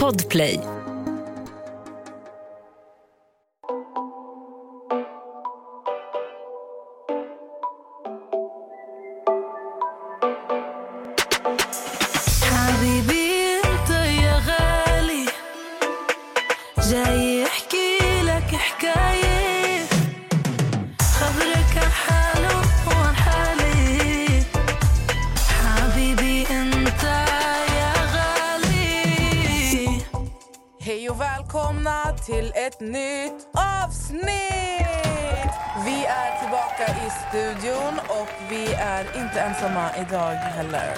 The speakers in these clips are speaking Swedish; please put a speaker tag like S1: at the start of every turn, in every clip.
S1: Podplay.
S2: حبيبي انت يا غالي جاي احكي لك حكاية خبرك عن حاله وعن حالي حبيبي انت يا غالي
S3: Hej och välkomna till ett nytt avsnitt! Vi är tillbaka i studion och vi är inte ensamma idag heller.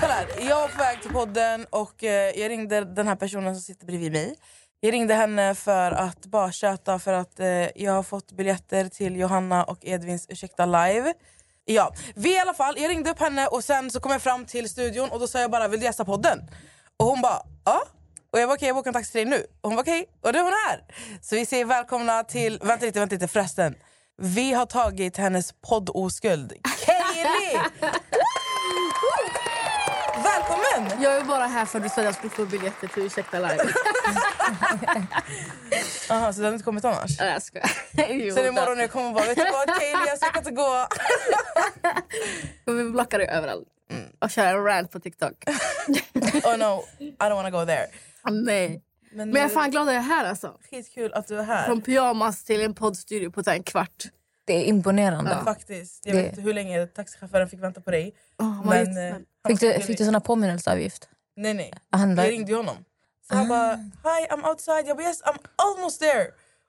S3: Kolla här, jag var på väg till podden och eh, jag ringde den här personen som sitter bredvid mig. Jag ringde henne för att bara tjöta för att eh, jag har fått biljetter till Johanna och Edvins Ursäkta live. Ja, vi i alla fall, jag ringde upp henne och sen så kom jag fram till studion och då sa jag bara vill du gästa podden? Och hon bara ja. Och jag var okej, jag bokar en taxi till dig nu. Och hon var okej, och nu är hon här. Så vi säger välkomna till... Vänta lite, vänta lite förresten. Vi har tagit hennes poddoskuld. Kaeli! Välkommen!
S4: Jag är bara här för att du säger att du får biljetter till Ursäkta live.
S3: Jaha, så du hade inte kommit annars?
S4: Nej, jag skojar. Jo,
S3: Sen imorgon när jag kommer och bara, vet du vad Kaeli, jag ska inte gå.
S4: då. Vi blockar dig överallt. Och kör en rant på TikTok. Ah,
S3: Oh no, I don't wanna go there.
S4: Nej.
S3: Men,
S4: Men jag är fan glad att jag är här alltså.
S3: skitkul att du är här.
S4: Från pyjamas till en poddstudio på så här en kvart.
S5: Det är imponerande.
S3: Faktiskt. Jag
S5: Det-
S3: vet inte hur länge taxichauffören fick vänta på dig.
S4: Oh, vad
S3: Men, eh,
S4: jättesnällt.
S3: han
S5: Fick du,
S3: blev-
S5: fick du sån här påminnelseavgift?
S3: Nej, nej.
S5: Han bara,
S3: Jag ringde ju honom. Så
S4: Ah.
S3: han bara, hi I'm outside. Jag bara, yes I'm almost there.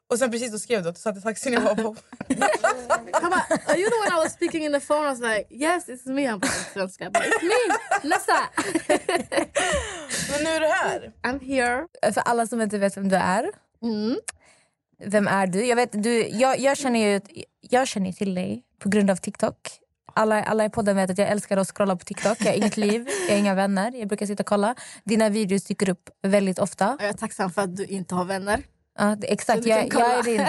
S3: Och sen precis då skrev du att du satt i taxin jag var på.
S4: Han bara, "Are you the one I was speaking in the phone? I was like, yes it's me. Han bara, på svenska. Jag bara, It's me, Nessa.
S3: Men nu är du här.
S4: I'm here.
S5: för alla som inte vet vem du är.
S4: Mm.
S5: Vem är du? Jag, vet, du, jag, jag, känner, ju, jag känner ju till dig på grund av TikTok. Alla, alla i podden vet att jag älskar att scrolla på TikTok. Jag har inget liv, jag har inga vänner. Jag brukar sitta och kolla. Dina videos dyker upp väldigt ofta.
S4: Och Jag är tacksam för att du inte har vänner.
S5: Ja, det, exakt.
S4: Så du kan
S5: Jag, jag,
S4: kolla.
S5: är din,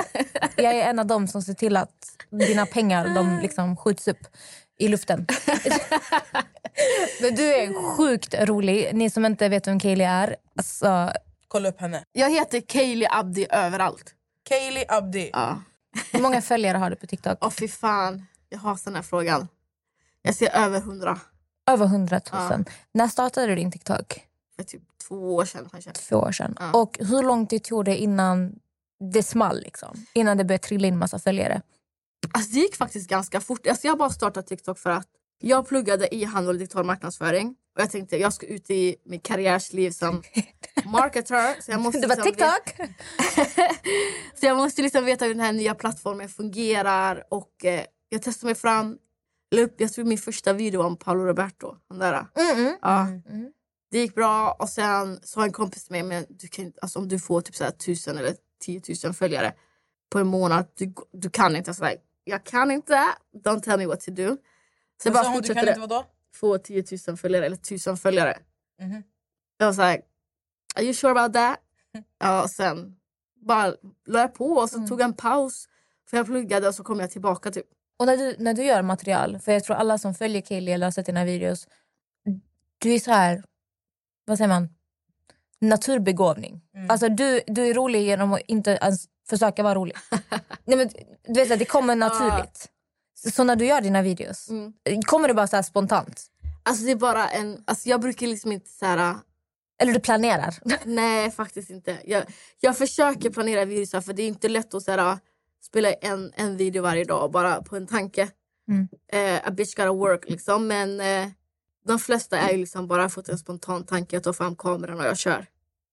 S5: jag är en av dem som ser till att dina pengar de liksom skjuts upp i luften. Men du är sjukt rolig. Ni som inte vet vem Kaeli är, alltså,
S3: Kolla upp henne.
S4: Jag heter Kaylee Abdi överallt.
S3: Kaeli Abdi.
S4: Ja.
S5: hur många följare har du på TikTok?
S4: Åh fy fan, jag hatar den här frågan. Jag ser över hundra.
S5: Över 100 000. När startade du din TikTok?
S4: för typ två år sedan kanske.
S5: Två år sedan.
S4: Ja.
S5: Och hur lång tid tog det innan det small? Liksom? Innan det började trilla in massa följare?
S4: Alltså det gick faktiskt ganska fort. Alltså jag har bara startat TikTok för att jag pluggade e-handel och digital marknadsföring. Och jag tänkte jag ska ut i mitt karriärsliv som marketer. Så jag måste,
S5: Det var
S4: liksom
S5: TikTok!
S4: veta- så jag måste liksom veta hur den här nya plattformen fungerar. Och eh, jag testade mig fram. La upp, jag tror min första video om Paolo Roberto. Han där.
S5: Mm-mm.
S4: Ja.
S5: Mm.
S4: Det gick bra och sen sa en kompis till mig men du kan, inte- alltså, om du får typ så här 1000 eller 10 000 följare på en månad, du, du kan inte. Så här, jag kan inte, don't tell me what to do. Så jag
S3: Vad sa
S4: bara
S3: hon? Du kan
S4: fortsatte
S3: inte
S4: det.
S3: vadå?
S4: Få 10 000 följare eller 1000 följare.
S3: Mhm.
S4: Jag var så här, are you sure about that? Ja, och sen bara la jag på och så
S3: Mm.
S4: tog jag en paus. För jag pluggade och så kom jag tillbaka typ.
S5: Och när du, när du gör material, för jag tror alla som följer Kaeli eller har sett dina videos, du är så här, vad säger man, naturbegåvning.
S4: Mm.
S5: Alltså du, du är rolig genom att inte ens försöka vara rolig. Nej, men, du vet, så här, det kommer naturligt. Så, så när du gör dina videos,
S4: Mm.
S5: kommer det bara så här spontant?
S4: Alltså det är bara en, alltså jag brukar liksom inte så här
S5: Eller du planerar?
S4: Nej, faktiskt inte. Jag, jag försöker planera virusar för det är inte lätt att så här, ah, spela en, en video varje dag bara på en tanke.
S5: Mm.
S4: Eh, a bitch gotta work liksom. Men eh, de flesta är ju liksom bara fått en spontan tanke. Jag tar fram kameran och jag kör.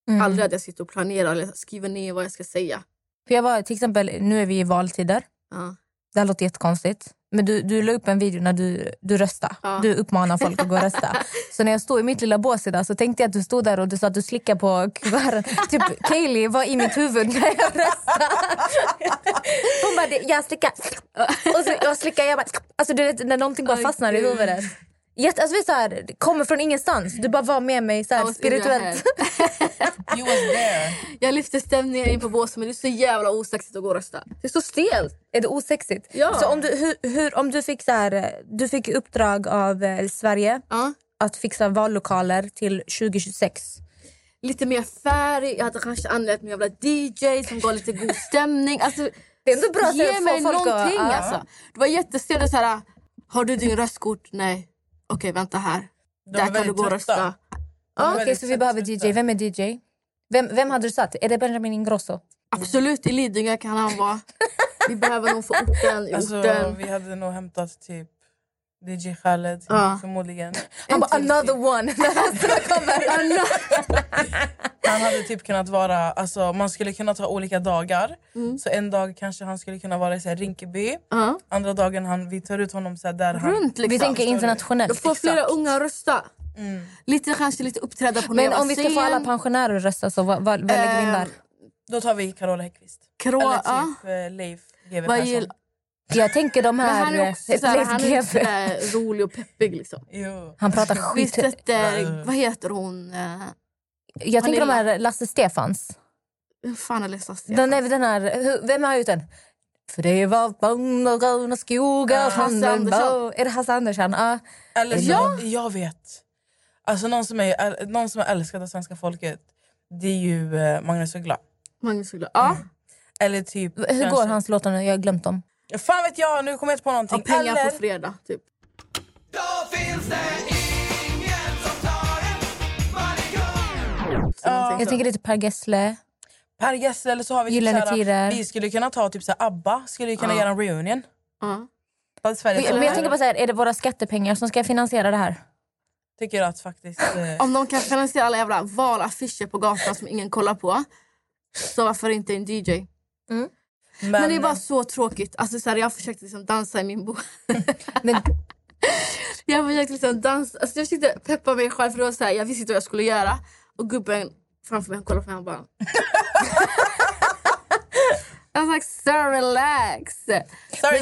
S5: Mm.
S4: Aldrig att jag sitter och planerar eller skriver ner vad jag ska säga.
S5: För jag var, till exempel, nu är vi i valtider.
S4: Ja.
S5: Det här låter jättekonstigt. Men du, du la upp en video när du, du röstade.
S4: Ja.
S5: Du uppmanar folk att gå och rösta. så när jag stod i mitt lilla bås idag så tänkte jag att du stod där och du sa att du slickade på kuverten. typ Kaeli var i mitt huvud när jag röstade. Hon bara, "Det- jag slickar. och så jag slickar, jag bara... Alltså du vet när någonting bara
S4: Åh,
S5: fastnar i
S4: Gud.
S5: huvudet. Jätte, alltså, vi är så här, det kommer från ingenstans. Du bara var med mig så
S4: I
S5: här,
S4: was in your head.
S5: spirituellt.
S3: You was there.
S4: Jag lyfter stämningen in på båsen men det är så jävla osexigt att gå och rösta.
S5: Det är så stelt. Är det osexigt?
S4: Ja.
S5: Så om du, hur, hur, om du fick så här, eh, du fick i uppdrag av eh, Sverige
S4: Ja.
S5: att fixa vallokaler till 2026.
S4: lite mer färg. Jag hade kanske anlitat någon jävla DJ som gav lite god stämning. Alltså,
S5: Det är ändå bra sätt att
S4: Ge
S5: få
S4: mig
S5: folk att-
S4: någonting
S5: ja.
S4: alltså. Det var jättestelt. Så här, har du din röstkort? Nej. Okej, vänta här.
S3: De är
S4: Där kan du
S3: väldigt
S4: gå och
S3: trötta.
S4: rösta.
S3: De är
S5: Okej,
S3: väldigt
S5: så vi behöver
S3: trötta.
S5: DJ. Vem är DJ? Vem, vem hade du satt? Är det Benjamin Ingrosso?
S4: Absolut, i Lidingö kan han vara. Vi behöver någon för orten. I
S3: Alltså,
S4: orten.
S3: vi hade nog hämtat typ DJ Khaled,
S4: Ja.
S3: förmodligen. typ.
S5: Han bara,
S4: till.
S5: another one.
S3: Han hade typ kunnat vara... Alltså, man skulle kunna ta olika dagar.
S4: Mm.
S3: Så En dag kanske han skulle kunna vara i så här, Rinkeby.
S4: Ja.
S3: Andra dagen han, vi tar ut honom så här, där han...
S4: Runt liksom.
S5: vi tänker
S4: Då
S5: internationellt.
S4: får flera unga rösta.
S3: Mm.
S4: Lite, kanske lite uppträda på någon
S5: Men
S4: jävla
S5: om vi ska få alla
S4: scen.
S5: pensionärer att rösta, så vad, vad, vad lägger vi in där?
S4: Ehm,
S3: Då tar vi Carola Häggkvist.
S4: Krå,
S3: Eller
S4: ja.
S3: typ eh, Leif GW
S4: Vad
S3: Persson.
S4: gill-
S5: Jag tänker de
S4: Men
S5: här...
S4: han är också
S5: eh,
S4: såhär,
S5: Leif
S4: han är
S5: GW.
S4: sådär rolig och peppig liksom.
S3: Jo.
S5: Han pratar
S4: Vi
S5: skit.
S4: sätter, vad heter hon? Eh,
S5: Jag
S4: han
S5: tänker de
S4: är
S5: här Lasse Stefans.
S4: Hur fan är Lisa Stefans?
S5: Den, är- den här, hur- vem har gjort den? För det var bönder, gröna skogar,
S4: Hasse
S5: handen
S4: Andersson.
S5: var... Är det Hasse Andersson? Ja.
S3: Eller så,
S5: Ja.
S3: Jag vet. Alltså någon som, är, äl- någon som är älskad av svenska folket det är ju eh, Magnus Uggla.
S4: Magnus Uggla. Ja.
S5: Mm.
S3: Eller typ...
S5: Hur går hans låtar nu? Jag har glömt dem.
S3: Fan vet jag, nu kommer jag inte på
S4: Ja,
S3: någonting.
S4: pengar
S3: Eller
S4: på fredag typ.
S1: Då finns det ingen som tar en manikör
S4: Så någonting
S5: Jag
S4: så.
S5: tänker lite Per Gessle.
S3: Per Gessle eller så har vi
S5: Gyllene
S3: såhär-
S5: Tider.
S3: Vi skulle kunna ta typ såhär, ABBA, skulle ju kunna
S4: Ja.
S3: göra en reunion.
S4: Ja.
S3: Att Sverige
S5: Men jag tänker på så här, är det våra skattepengar som ska finansiera det här?
S3: tycker att faktiskt... Eh,
S4: Om de kan finansiera alla jävla valaffischer på gatan som ingen kollar på. Så varför inte en DJ? Men,
S3: men,
S4: det är
S5: eh,
S4: bara så tråkigt. Alltså, så här, jag försökte liksom dansa i min bok.
S5: Men
S4: Jag försökte liksom dansa. Alltså, jag försökte peppa mig själv för det var så här, jag visste inte vad jag skulle göra. Och gubben framför mig han kollade på mig och bara... Jag var like, sir relax.
S3: sorry,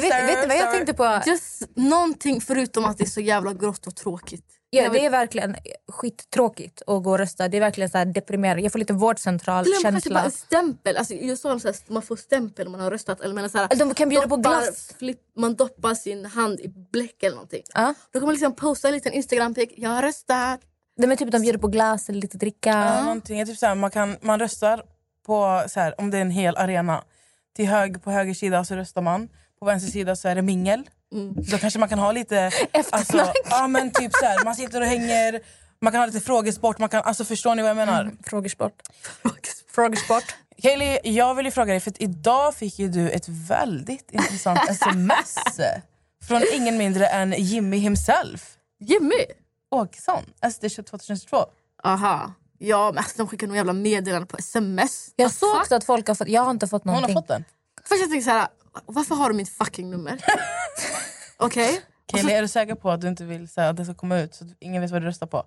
S5: Men vet,
S3: Sarah,
S5: vet du vad jag
S3: sorry.
S5: tänkte på?
S4: Just någonting förutom att det är så jävla grått och tråkigt.
S5: Ja,
S4: Jag
S5: det är verkligen skittråkigt att gå och rösta. Det är verkligen så här deprimerande. Jag får lite
S4: Glöm kanske bara
S5: vårdcentralkänsla.
S4: en stämpel. Alltså, I USA är det så här, man får stämpel när man har röstat. Eller man, är så här,
S5: Eller de kan bjuda på
S4: doppar
S5: glass.
S4: Flipp, man doppar sin hand i bläck eller någonting.
S5: Ja.
S4: Då kan man liksom posta en liten Instagram-pic. Jag har röstat.
S5: Det är typ de bjuder på glass eller lite dricka.
S3: Ja, någonting. Jag Typ såhär, man, kan, man röstar på, såhär, om det är en hel arena, till hög, på höger sida så röstar man, på vänster sida så är det mingel. Då kanske man kan ha lite...
S5: Mm. Eftersnack.
S3: ja, men typ såhär, man sitter och hänger, man kan ha lite frågesport. Man kan, alltså, förstår ni vad jag menar?
S5: Mm. Frågesport.
S3: Frågesport. Kaeli, jag vill ju fråga dig, för att idag fick ju du ett väldigt intressant sms från ingen mindre än Jimmy himself,
S4: Jimmy!
S3: Åkesson, SD 2022.
S4: Aha. Ja, men alltså, de skickar nog jävla meddelanden på sms.
S5: Jag
S4: Vad
S5: såg
S4: fuck?
S5: också att folk har fått... Jag har inte fått
S3: Hon
S5: någonting.
S3: har fått den.
S4: Först jag tänkte så här, varför har du mitt fucking nummer? Okej?
S3: Kaeli, är du säker på att du inte vill så här, att det ska komma ut så att ingen vet vad du röstar på?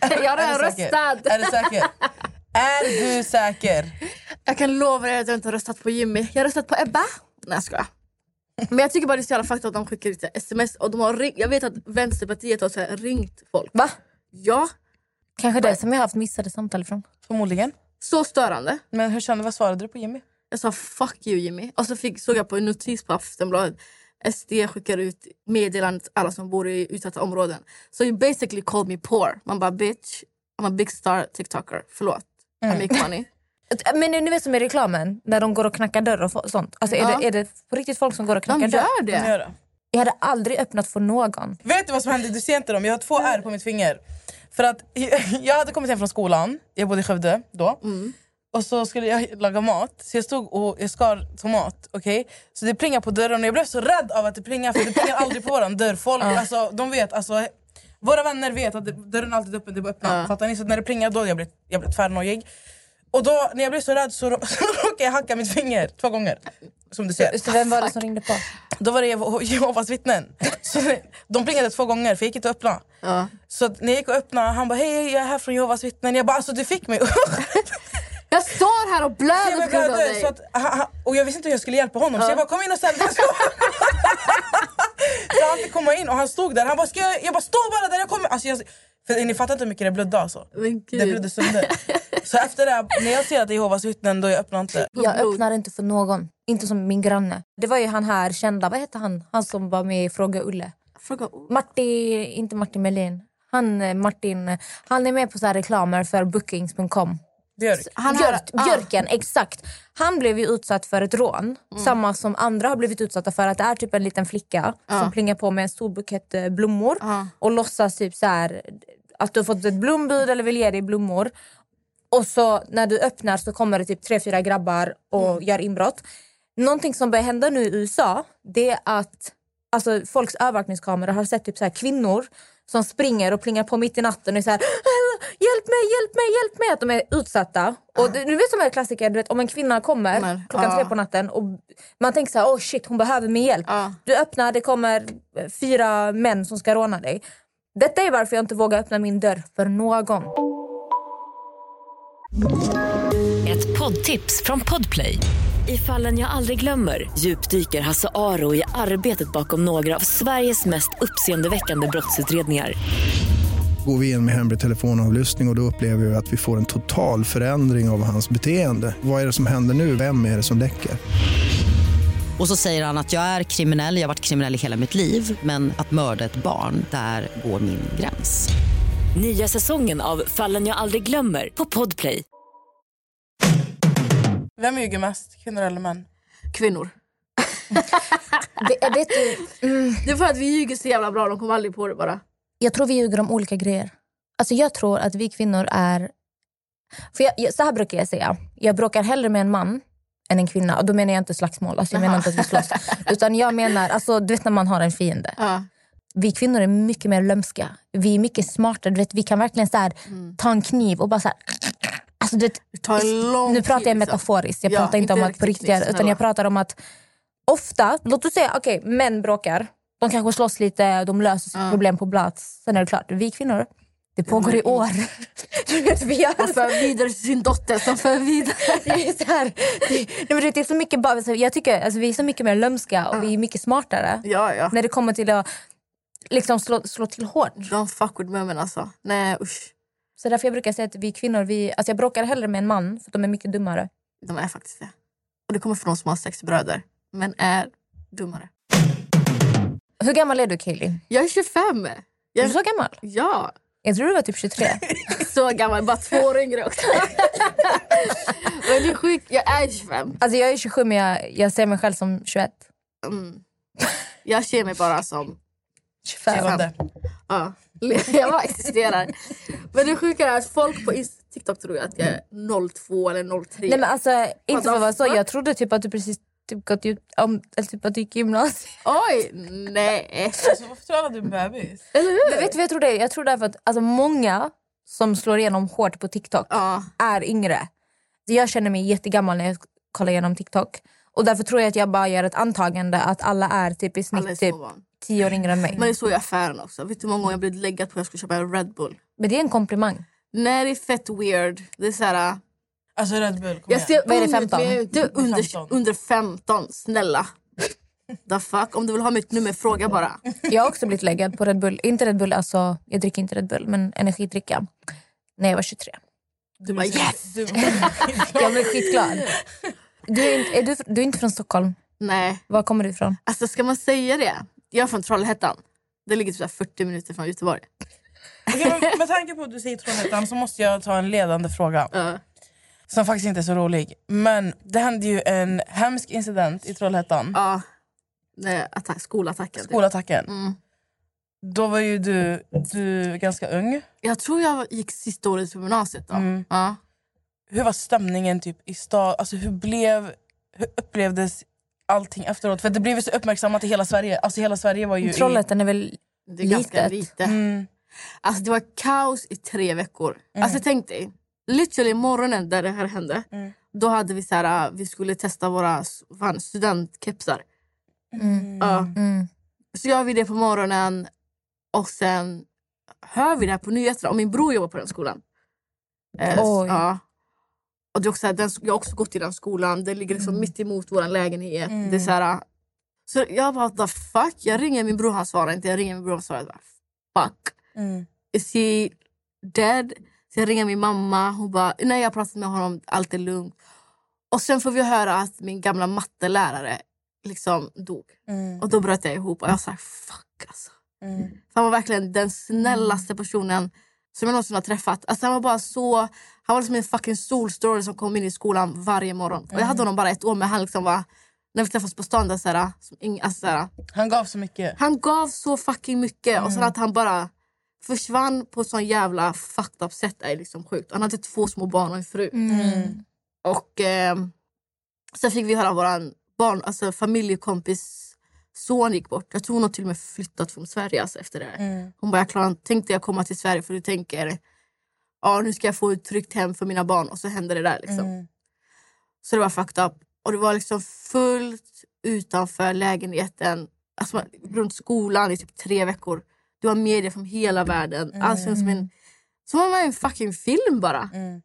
S4: Jag
S3: är
S4: har redan
S3: du säker?
S4: röstat.
S3: Är du säker? Är du säker?
S4: Jag kan lova er att jag inte har röstat på Jimmy. Jag har röstat på Ebba. Nej, jag skojar. Men jag tycker bara det är så jävla fakta att de skickar ut sms. Och de har ring- jag vet att Vänsterpartiet har så här ringt folk.
S5: Va?
S4: Ja,
S5: Kanske det som jag har haft missade samtal från.
S3: Förmodligen.
S4: så störande.
S3: Men hur kände, vad svarade du på Jimmy?
S4: Jag sa fuck you Jimmy. Och så fick, såg jag på en notis på Aftonbladet. SD skickar ut meddelandet till alla som bor i utsatta områden. So you basically called me poor. Man bara bitch, I'm a big star tiktoker. Förlåt,
S5: Mm.
S4: I make money.
S5: äh, Men ni vet som i reklamen, när de går och knackar dörr och fo- sånt. Alltså, är,
S4: Ja.
S5: det, är det på riktigt folk som går och
S4: De
S5: knackar dörr?
S4: gör
S3: Kan du
S4: det.
S3: göra?
S5: Jag hade aldrig öppnat för någon.
S3: Vet du vad som hände? Du ser inte dem. Jag har två ärr på mitt finger. För att jag hade kommit hem från skolan. Jag bodde i Skövde då. Och så skulle jag laga mat. Så jag stod och jag skar tomat. Okej? Så det plingade på dörren och jag blev så rädd av att det plingade. För det plingar aldrig på våran dörr. Folk, alltså, de vet, alltså, våra vänner vet att det- dörren alltid är öppen. Det är bara öppna. Fattar ni? Så när det plingade då jag blev jag blev tvärnojig. Och då när jag blev så rädd så, rå- så råkade jag hacka mitt finger två gånger. Som du ser.
S5: Så vem var det som ringde på?
S3: Då var det Jeho- Jehovas vittnen. Så de plingade två gånger för jag gick inte och öppna.
S4: Ja.
S3: Så att när jag gick och öppnade, han bara hej jag är här från Jehovas vittnen. Jag bara alltså du fick mig
S4: Jag står här och blöder
S3: jag
S4: på grund av
S3: blödde,
S4: dig.
S3: så att, ha- ha- Och jag visste inte hur jag skulle hjälpa honom så jag bara kom in och ställ dig. Så han fick komma in och han stod där. Han bara ska jag, jag bara stå bara där jag kommer. Alltså, jag, för ni fattar inte hur mycket det blödde alltså.
S4: Men gud.
S3: Det blödde sönder. Så efter det, här, när jag ser att det är Jehovas vittnen då jag öppnar inte.
S5: Jag
S4: blod.
S5: öppnar inte för någon. Inte som min granne. Det var ju han här kända, vad hette han? Han som var med i Fråga Ulle.
S4: Fråga,
S5: Martin, inte Martin Melin. Han eh, Martin, eh, han är med på så här reklamer för bookings.com.
S3: Björk.
S4: Han har-
S5: Björk,
S4: ah.
S5: Björken, exakt. Han blev ju utsatt för ett rån.
S4: Mm.
S5: Samma som andra har blivit utsatta för. Att det är typ en liten flicka som plingar på med en stor bukett eh, blommor.
S4: Ja.
S5: Och låtsas typ så här, att du har fått ett blombud eller vill ge dig blommor. Och så när du öppnar så kommer det typ tre, fyra grabbar och gör inbrott. Någonting som börjar hända nu i USA det är att alltså, folks övervakningskameror har sett typ så här, kvinnor som springer och plingar på mitt i natten och är så här "Äh, Hjälp mig, hjälp mig, hjälp mig! Att de är utsatta. Och du, du vet som är klassiker, du vet, om en kvinna Ah. kommer Ah.
S4: Kommer,
S5: klockan
S4: ja.
S5: tre på natten och man tänker så här, oh shit hon behöver min hjälp.
S4: Ja.
S5: Du öppnar, det kommer eh, fyra män som ska råna dig. Detta är varför jag inte vågar öppna min dörr för någon.
S6: Ett poddtips från Podplay. I fallen jag aldrig glömmer djupdyker Hasse Aro i arbetet bakom några av Sveriges mest uppseendeväckande brottsutredningar.
S7: Går vi in med hemlig telefonavlyssning och, och då upplever vi att vi får en total förändring av hans beteende. Vad är det som händer nu? Vem är det som läcker?
S8: Och så säger han att jag är kriminell, jag har varit kriminell i hela mitt liv men att mörda ett barn, där går min gräns.
S6: Nya säsongen av Fallen jag aldrig glömmer på Podplay.
S3: Vem ljuger mest? Kvinnor eller män?
S4: Kvinnor.
S5: Vet, vet du,
S4: Det är för att vi ljuger så jävla bra, de kommer aldrig på det bara.
S5: jag tror vi ljuger om olika grejer. Alltså jag tror att vi kvinnor är... För jag, jag, så här brukar jag säga. Jag bråkar hellre med en man än en kvinna. Och då menar jag inte slagsmål. Alltså jag menar inte att vi slåss. Utan jag menar, alltså, du vet när man har en fiende.
S4: Ja.
S5: vi kvinnor är mycket mer lömska. Vi är mycket smartare. Du vet, vi kan verkligen så här, ta en kniv och bara så här, alltså, du vet,
S4: Det tar en lång
S5: Nu pratar jag
S4: tid, liksom.
S5: metaforiskt, jag
S4: Ja,
S5: pratar inte om
S4: inte
S5: att på
S4: riktigt
S5: riktigt.
S4: knivsnälla.
S5: Utan jag pratar om att ofta, låt oss säga okej, män bråkar. De kanske slåss lite, de löser sitt problem på plats. Sen är det klart, vi kvinnor, det pågår i år. Du vet, vi gör
S4: Han för vidare till sin dotter som för vidare.
S5: det är så här, det, nej, men du vet, det är så mycket bara, så jag tycker, alltså, vi är så mycket mer lömska och vi är mycket smartare.
S4: Ja, ja.
S5: När det kommer till att liksom slå, slå till hårt.
S4: Don't fuck with women alltså. Nej usch.
S5: Så därför jag brukar säga att vi kvinnor, vi, alltså jag bråkar hellre med en man för att de är mycket dummare.
S4: De är faktiskt det. Och det kommer från de som har sex bröder. Men är dummare.
S5: Hur gammal är du Kaeli?
S4: Jag är 25!
S5: Är
S4: Jag,
S5: du så gammal?
S4: ja,
S5: Jag tror du var typ 23.
S4: så gammal. Bara två år yngre också. Men det är sjukt, jag är 25.
S5: alltså jag är 27 men jag, jag ser mig själv som 21.
S4: Mm. Jag ser mig bara som...
S5: 25.
S3: Tionde.
S4: Ja, jag bara existerar. Men det sjuka är att folk på Inst- TikTok tror att jag är 02 eller 03.
S5: Nej men alltså inte för att vara
S4: What
S5: så,
S4: the fuck?
S5: jag trodde typ att du precis typ gått ut, om, eller typ att du gick gymnasiet.
S4: Oj! Nej.
S3: Alltså, varför talar du bebis?
S4: Eller hur?
S5: Men vet du vad jag tror det är? Jag tror därför att alltså, många som slår igenom hårt på TikTok
S4: Ja.
S5: är yngre. Jag känner mig jättegammal när jag kollar igenom TikTok. Och därför tror jag att jag bara gör ett antagande att alla är typ i
S4: Alla är
S5: snitt typ
S4: småbarn.
S5: 10 år yngre än mig.
S4: Men det såg jag i affären också. Vet du hur många gånger jag blev läggad på att jag skulle köpa en Red Bull?
S5: Men det är en komplimang.
S4: Nej, det är fett weird. Det är så här,
S3: Alltså Red Bull, kom
S4: jag
S3: igen.
S4: ser
S5: Vad är det,
S4: ung ut, men
S5: 15?
S4: jag är inte under,
S3: 15.
S4: under 15. Snälla. The fuck? Om du vill ha mitt nummer, fråga bara.
S5: Jag har också blivit läggad på Red Bull. Inte Red Bull, alltså jag dricker inte Red Bull, men energidricka. När jag var 23.
S4: Du bara yes!
S3: Du,
S5: Jag blev skitglad. Du är, inte, är du, du är inte från Stockholm.
S4: Nej,
S5: Var kommer du ifrån?
S4: alltså ska man säga det? Jag är från Trollhättan. Det ligger typ så här 40 minuter från Göteborg.
S3: Okej, men med tanke på att du säger Trollhättan så måste jag ta en ledande fråga.
S4: Ja.
S3: Som faktiskt inte är så rolig. Men det hände ju en hemsk incident i Trollhättan.
S4: Ja. Nej, attack, skolattacken. typ.
S3: Skolattacken.
S4: Mm.
S3: Då var ju du, du ganska ung.
S4: Jag tror jag gick sista året på gymnasiet då.
S3: Mm.
S4: Ja.
S3: Hur var stämningen typ i stad? Alltså hur blev... Hur upplevdes allting efteråt? För det blev ju så uppmärksammat i hela Sverige. Alltså hela Sverige var ju
S5: Trollhättan är väl...
S4: Det är ganska
S5: Litet.
S4: lite.
S3: i... Mm.
S4: Alltså det var kaos i tre veckor. Alltså tänk dig, literally morgonen där det här hände.
S3: Mm.
S4: Då hade vi så här, äh, vi skulle testa våra fan, studentkepsar.
S5: Mm.
S4: Ja.
S5: Mm.
S4: Så gör vi det på morgonen och sen hör vi det här på nyheterna. Och min bror jobbar på den skolan. Eh, så-
S5: Oj.
S4: ja. Och det är också, så här, den, jag har också gått i den skolan. Den ligger liksom mitt emot vår lägenhet.
S3: Mm.
S4: Det är så, här, äh, så jag bara, the fuck? Jag ringer min bror, han svarar inte. Jag ringer min bror, han svarar inte. Fuck.
S3: Mm.
S4: is he dead? Så jag ringer min mamma. Hon bara, nej jag har pratat med honom, allt är lugnt. Och sen får vi höra att min gamla mattelärare liksom dog.
S3: Mm.
S4: Och då bröt jag ihop och jag sa fuck alltså.
S3: Mm.
S4: För han var verkligen den snällaste personen som jag någonsin har träffat. Alltså han var bara så... Han var liksom en fucking solstråle som kom in i skolan varje morgon. Och jag hade honom bara ett år men han liksom var... När vi träffades på stan där såhär, som ing, alltså, såhär,
S3: Han gav så mycket. Mm.
S4: han gav så fucking mycket och sen att han bara försvann på ett sån jävla fucked up sätt är liksom sjukt. Han hade två små barn och en fru.
S5: Mm.
S4: Och eh, sen fick vi höra vår barn, alltså familjekompis son gick bort. Jag tror hon har till och med flyttat från Sverige alltså, efter det här.
S3: Mm.
S4: Hon bara, jag klarar, inte- tänkte jag komma till Sverige för du tänker ja nu ska jag få ett tryggt hem för mina barn och så hände det där. Liksom.
S3: Mm.
S4: Så det var fucked up. Och det var liksom fullt utanför lägenheten, alltså man- runt skolan i typ tre veckor. Du har medier från hela världen. Allt känns som en, som om man är i en fucking film bara.
S3: Mm.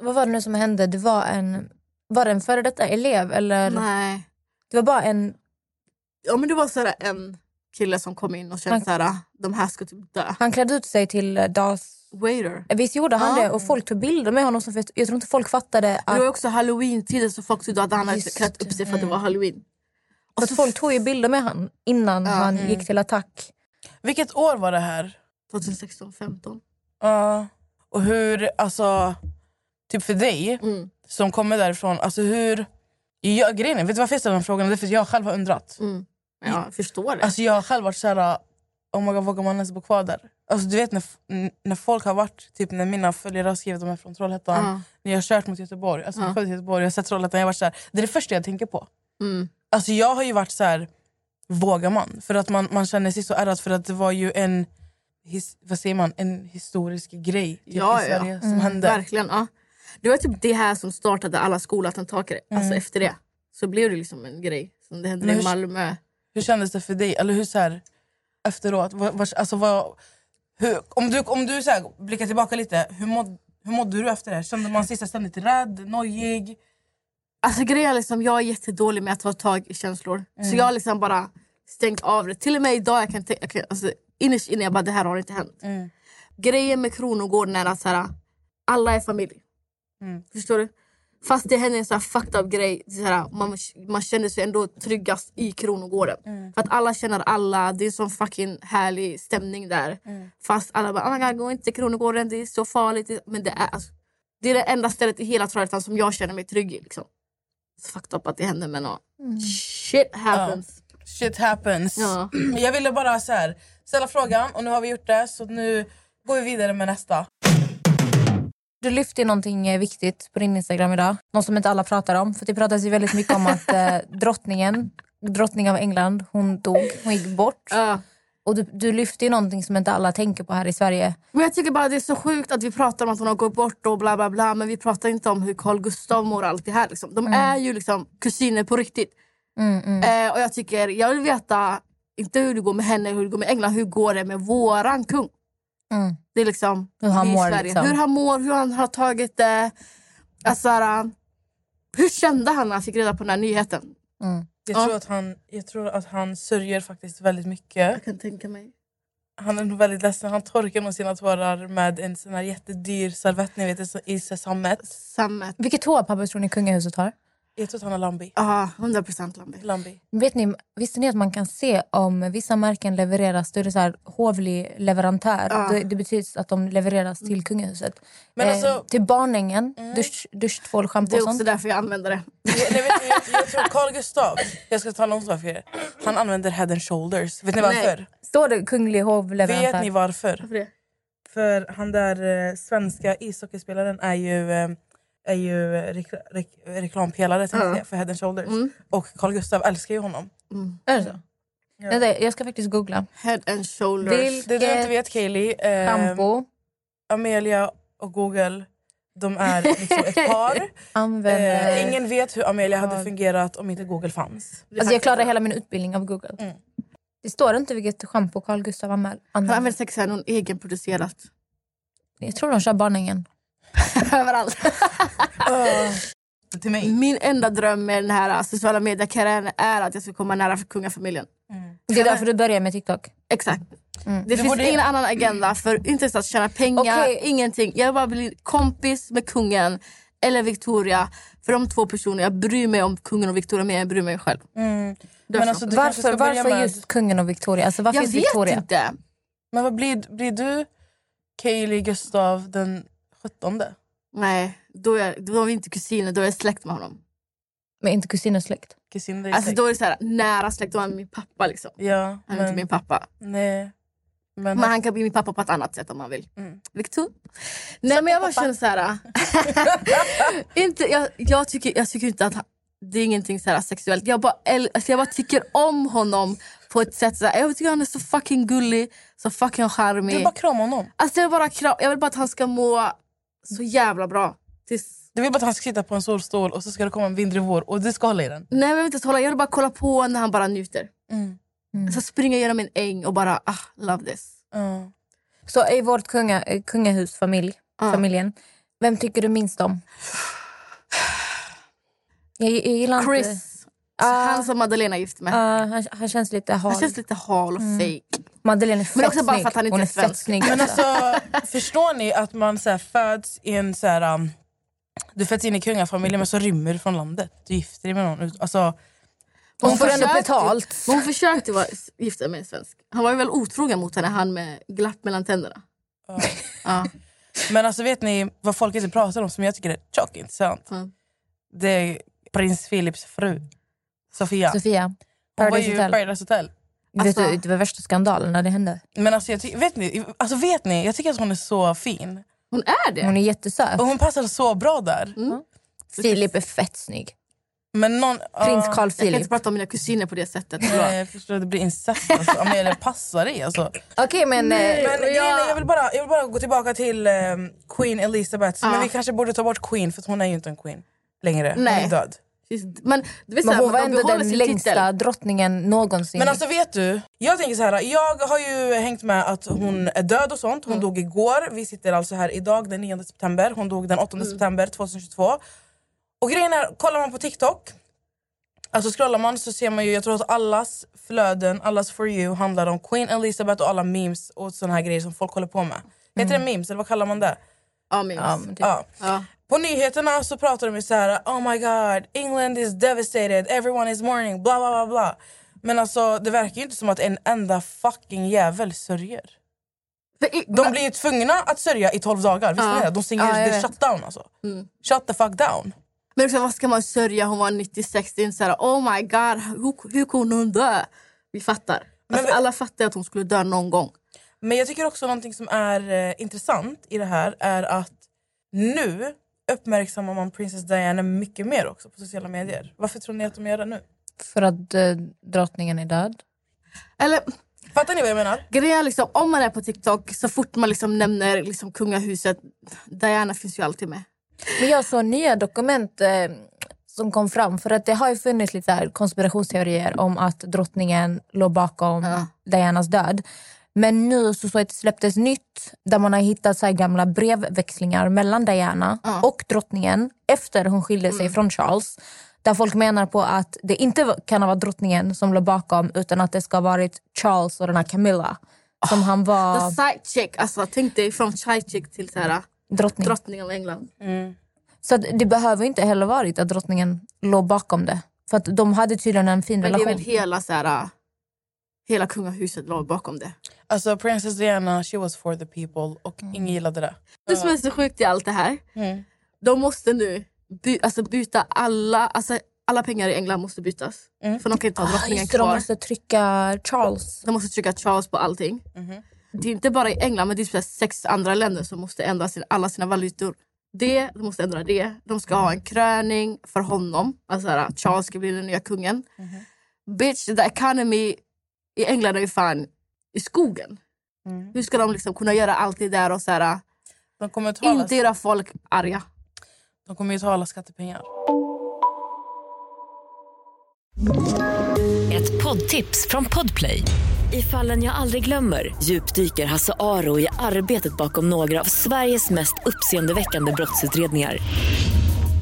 S5: Vad var det nu som hände? Det var en, var det en före detta elev? Eller?
S4: Nej.
S5: Det var bara en...
S4: Mm. Ja men det var såhär en kille som kom in och kände såhär, de här ska typ dö.
S5: Han klädde ut sig till eh, das...
S4: Waiter.
S5: Visst gjorde han
S4: Ja.
S5: det? Och folk tog bilder med honom. Som, för jag tror inte folk fattade
S4: Det
S5: att...
S4: var ju också halloween-tiden så folk trodde att han hade
S5: Just
S4: klätt upp sig för att det var halloween.
S5: För att folk tog ju bilder med han innan han
S3: Mm.
S5: gick till attack.
S3: Vilket år var det här?
S4: 2016, 15.
S3: Ja. Och hur, alltså, typ för dig
S4: Mm.
S3: som kommer därifrån, alltså hur... Jag, grejen är, vet du varför jag ställer den frågan? Det är för att jag själv har undrat.
S4: Mm. Ja, jag förstår det.
S3: Alltså jag har själv varit såhär, oh my god, vågar man ens bo kvar där? Alltså du vet när, f- n- när folk har varit, typ när mina följare har skrivit att de är från Trollhättan,
S4: Ja.
S3: när jag har kört mot Göteborg, alltså
S4: Ja.
S3: jag har till Göteborg, jag har sett Trollhättan, jag har varit såhär, det är det första jag tänker på.
S4: Mm.
S3: Alltså jag har ju varit så här, vågar man? För att man, man känner sig så ärrad för att det var ju en, his, vad säger man, en historisk grej typ,
S4: Ja,
S3: i
S4: ja. Mm,
S3: Sverige som hände.
S4: Verkligen. Ja. Det var typ det här som startade alla skolattentaker. Alltså efter det så blev det liksom en grej. Som det hände
S3: Mm. Men
S4: i
S3: hur-
S4: Malmö.
S3: Hur kändes det för dig? Eller hur så här, efteråt? Vad, vad, alltså, vad, hur, om du, om du så här, blickar tillbaka lite, hur, måd, hur mådde du efter det? här? Kände man sig så här ständigt rädd, nojig?
S4: Alltså grejen är liksom, jag är jättedålig med att ta tag i känslor.
S3: Mm.
S4: Så jag har liksom bara stängt av det. Till och med idag jag kan tänka, jag kan- alltså, innerst inne jag bara det här har inte hänt.
S3: Mm.
S4: Grejen med Kronogården är att så här, alla är familj.
S3: Mm.
S4: Förstår du? Fast det hände en så här fucked up grej. Så här, man, man känner sig ändå tryggast i Kronogården.
S3: Mm.
S4: För att alla känner alla. Det är sån fucking härlig stämning där.
S3: Mm.
S4: Fast alla bara oh my God, gå inte till Kronogården, det är så farligt. Det- Men det är, alltså, det är det enda stället i hela Trollhättan som jag känner mig trygg i. Liksom. Så Fucked up att det hände men ja.
S5: Mm.
S4: shit happens.
S3: Shit happens.
S4: Ja.
S3: Jag ville bara så här, ställa frågan och nu har vi gjort det så nu går vi vidare med nästa.
S5: Du lyfte ju någonting eh, viktigt på din Instagram idag. Något som inte alla pratar om. För det pratas ju väldigt mycket om att eh, drottningen, drottningen av England, hon dog. Hon gick bort.
S4: Ja.
S5: Och du, du lyfte ju någonting som inte alla tänker på här i Sverige.
S4: Men jag tycker bara det är så sjukt att vi pratar om att hon har gått bort och bla bla bla men vi pratar inte om hur Carl Gustav mår och allt det här. Liksom. De är ju liksom kusiner på riktigt.
S5: Mm, mm.
S4: Eh, och jag tycker, jag vill veta, inte hur det går med henne, hur det går med England, hur går det med våran kung?
S5: Mm.
S4: Det är liksom
S5: Hur han
S4: vi i
S5: mår,
S4: Sverige.
S5: liksom.
S4: Hur han mår, hur han har tagit det. Alltså, här, hur kände han när han fick reda på den här nyheten?
S3: Jag,
S4: Ja.
S3: tror att han, jag tror att han sörjer faktiskt väldigt mycket.
S4: kan tänka mig.
S3: Han är nog väldigt ledsen. Han torkar nog sina tårar med en sån här jättedyr servett ni vet, i sesamet.
S4: Sammet.
S5: Vilket toapapper tror ni kungahuset har?
S3: Jag tror att han har lambi.
S4: Ja, 100 procent Lambi.
S3: lambi.
S5: Vet ni, visste ni att man kan se om vissa märken levereras, då är det så här hovlig leverantör.
S4: Ja. Mm.
S5: Det, det betyder att de levereras till kungahuset. Eh,
S3: Men alltså-
S5: till barningen, dusch, duschtvål,
S4: Det
S5: schampo och
S4: är också
S5: sånt.
S4: därför jag använder det.
S3: Jag, nej, vet, ni, jag, jag tror Carl Gustav, jag ska tala om så här för er. Han använder head and shoulders. Vet ni
S4: Nej.
S3: varför?
S5: Står det kunglig
S3: Vet
S5: hovleverantör?
S3: ni varför?
S4: Varför det?
S3: För han där eh, svenska ishockeyspelaren är ju, eh, är ju eh, rekla, rek, reklampelare tänkte jag säga, för head and shoulders. Och Carl Gustav älskar ju honom.
S5: Är det så? Vänta, jag ska faktiskt googla.
S4: Mm. Head and shoulders.
S5: Vilket
S3: Det du inte vet Kaeli, eh,
S5: shampoo
S4: Ehm,
S3: Amelia och Google de är liksom ett par.
S5: använder...
S3: Eh, ingen vet hur Amelia hade fungerat om inte Google fanns.
S5: Alltså jag klarade hela min utbildning av Google. Det står inte vilket schampo Carl Gustav använder.
S4: Mm. Han använder säkert så här någon egenproducerat.
S5: Jag tror de kör barningen.
S4: Överallt.
S3: Till mig.
S4: Min enda dröm med den här äh, sociala mediekarriären är att jag ska komma nära för kungafamiljen.
S5: Det är därför du börjar med TikTok.
S4: Exakt. Det finns
S3: borde-
S4: ingen annan agenda för inte ens att tjäna pengar,
S5: Okej.
S4: ingenting. Jag vill bara bli kompis med kungen eller Victoria. För de två personer, jag bryr mig om kungen och Victoria mer än jag bryr mig själv.
S3: Men, alltså, du kanske
S5: Varför,
S3: ska börja
S5: varför
S3: med-
S5: just kungen och Victoria? Alltså, varför
S4: Jag
S5: just
S4: vet
S5: Victoria?
S4: inte.
S3: men vad blir, blir du Kaeli Gustav den 17.
S4: Nej, då är, då är vi inte kusiner, då är jag släkt med honom.
S5: Men inte kusin och släkt.
S3: Kusin dig
S4: Alltså
S3: säkert.
S4: då är det så här, nära släkt, då är han min pappa liksom.
S3: Ja,
S4: Han är
S3: men,
S4: inte min pappa.
S3: nej. Men,
S4: Men han kan bli min pappa på ett annat sätt om han vill.
S3: Mm.
S4: Victor? Nej men jag bara känner så här. äh, inte, jag, jag, tycker, jag tycker inte att han, det är ingenting så här sexuellt. Jag bara, äl- alltså jag bara tycker om honom på ett sätt så här, Jag tycker han är så fucking gullig, så fucking charmig.
S3: du bara kramar honom.
S4: Alltså jag, bara kram, jag vill bara att han ska må så jävla bra. Tills,
S3: Du vill bara att han ska sitta på en solstol och så ska det komma en vindrig vår och du ska hålla i den.
S4: nej men jag vill inte hålla, jag vill bara kolla på när han bara njuter.
S3: Mm.
S4: Så springer jag genom en äng och bara ah, love this.
S3: Ja.
S5: Så i vårt kunga, eh, kungahusfamilj,
S4: Mm. Ja.
S5: familjen, vem tycker du minst om? Jag, jag gillar inte-
S4: Chris,
S5: Ah.
S4: han som Madeleine är gift med.
S5: Ja, han, han känns lite hal.
S4: Han känns lite hal och
S5: Mm.
S4: fake.
S5: Madeleine är fett
S4: Men också bara
S5: snygg.
S4: för att han inte
S5: Hon
S4: är
S5: är fett
S4: svensk.
S5: snygg.
S3: Men
S5: alltså.
S3: alltså, förstår ni att man så här, föds i en... Så här, um, du föds in i kungafamiljen men så rymmer du från landet. Du gifter dig med någon. ut- Alltså,
S5: Hon får ändå
S4: försökte-
S5: betalt.
S4: Men hon försökte vara s- gifta med en svensk. Han var ju väl otrogen mot henne, han med glapp mellan tänderna.
S5: Ah.
S3: ja.
S4: Ja,
S3: Men alltså vet ni vad folk inte pratar om som jag tycker är tjockt intressant?
S4: fan.
S3: Det är prins Philips fru. Sofia.
S5: Sofia,
S3: Hon var
S5: Paradise
S3: ju i
S5: Hotel.
S3: Paradise Hotel.
S5: Vet
S4: Alltså-
S5: du, det var värsta skandalen när det hände.
S3: Men alltså, jag ty- vet, ni, alltså, vet ni, jag tycker att hon är så fin.
S4: Hon är det!
S5: Hon är jättesöt.
S3: Och hon passar så bra där.
S5: Filip är fett snygg.
S3: Men någon,
S5: Prins
S3: ja.
S5: Carl
S4: Jag kan
S5: Philip.
S4: inte prata om mina kusiner på det sättet.
S3: Nej, jag förstår, det blir incest. Alltså. Ja, men det passar dig alltså.
S5: Okej, men... eh,
S3: Men grejen är, jag, vill bara, jag vill bara gå tillbaka till ehm, Queen Elizabeth.
S4: Ja.
S3: Men vi kanske borde ta bort Queen för att hon är ju inte en queen längre.
S4: Nej.
S3: Hon är död.
S4: Precis. Men, du vet,
S5: Men
S4: så här,
S5: hon var
S4: man- de
S5: ändå
S4: behåller
S5: den
S4: sin
S5: längsta
S4: titel.
S5: drottningen någonsin.
S3: Men alltså vet du, jag tänker så här. Jag har ju hängt med att hon är död och sånt. Hon
S5: Mm.
S3: dog igår. Vi sitter alltså här idag den 9 september. Hon dog den
S5: Mm.
S3: 8 september 2022. Och grejen är, kollar man på TikTok, alltså scrollar man så ser man ju, jag tror att allas flöden, allas for you handlar om Queen Elizabeth och alla memes och såna här grejer som folk håller på med. Heter det memes eller vad kallar man det?
S4: Ja, memes.
S5: Mm. Ja, men typ. det-
S3: Ja.
S4: Ja.
S3: På nyheterna så pratar de ju så här, oh my god, England is devastated, everyone is mourning, bla bla bla bla. Men alltså det verkar ju inte som att en enda fucking jävel sörjer.
S4: För i-
S3: De blir ju tvungna att sörja i 12 dagar, visste
S4: Ja.
S3: ni det? De
S5: Ja,
S3: stänger
S5: jag
S3: ja,
S5: vet.
S3: shut down alltså. Shut the fuck down.
S4: Men också, vad ska man sörja? Hon var 96. Det är inte så här, oh my god, hur, hur kunde hon dö? Vi fattar. Alltså,
S3: Men-
S4: alla fattar att hon skulle dö någon gång.
S3: Men jag tycker också någonting som är eh, intressant i det här är att nu uppmärksammar man Princess Diana mycket mer också på sociala medier. Varför tror ni att de gör det nu?
S5: För att eh, drottningen är död.
S4: Eller
S3: Fattar ni vad jag menar?
S4: grejen är liksom, om man är på TikTok, så fort man liksom nämner liksom kungahuset, Diana finns ju alltid med.
S5: Men jag såg nya dokument eh, som kom fram. För att det har ju funnits lite här konspirationsteorier om att drottningen låg bakom
S4: Ja.
S5: Dianas död. Men nu så, så att det släpptes nytt där man har hittat så här gamla brevväxlingar mellan Diana
S4: Ja. Mm.
S5: och drottningen efter hon skilde sig från Charles. Där folk menar på att det inte var- kan ha varit drottningen som låg bakom utan att det ska ha varit Charles och den här Camilla. Som
S4: Ah,
S5: han var
S4: The side chick, alltså, tänk dig från side chick till så
S5: Mm.
S4: här,
S5: drottning.
S4: drottning av England.
S5: Så att det behöver inte heller varit att drottningen låg bakom det. För att de hade tydligen en fin
S4: Men det är
S5: relation.
S4: väl hela, så här, hela kungahuset låg bakom det.
S3: Alltså Princess Diana, she was for the people och ingen gillade det.
S4: Det som är så sjukt i allt det här,
S3: Mm.
S4: de måste nu by- alltså, byta alla, alltså, alla pengar i England måste bytas.
S3: Mm.
S4: För de kan inte ha drottningen
S5: Ah, Just det, de
S4: kvar.
S5: måste trycka Charles.
S4: De måste trycka Charles på allting.
S3: Mhm.
S4: Det är inte bara i England, men det är typ sex andra länder som måste ändra sin, alla sina valutor. Det, de måste ändra det. De ska ha en kröning för honom. Alltså här, Charles ska bli den nya kungen.
S3: Mhm.
S4: Bitch, the economy i England är ju fan i skogen.
S3: Mm.
S4: Hur ska de liksom kunna göra allt det där och så här,
S3: De kommer att tala
S4: inte göra folk arga?
S3: De kommer ju ta alla skattepengar.
S6: Ett poddtips från Podplay. I fallen jag aldrig glömmer djupdyker Hasse Aro i arbetet bakom några av Sveriges mest uppseendeväckande brottsutredningar.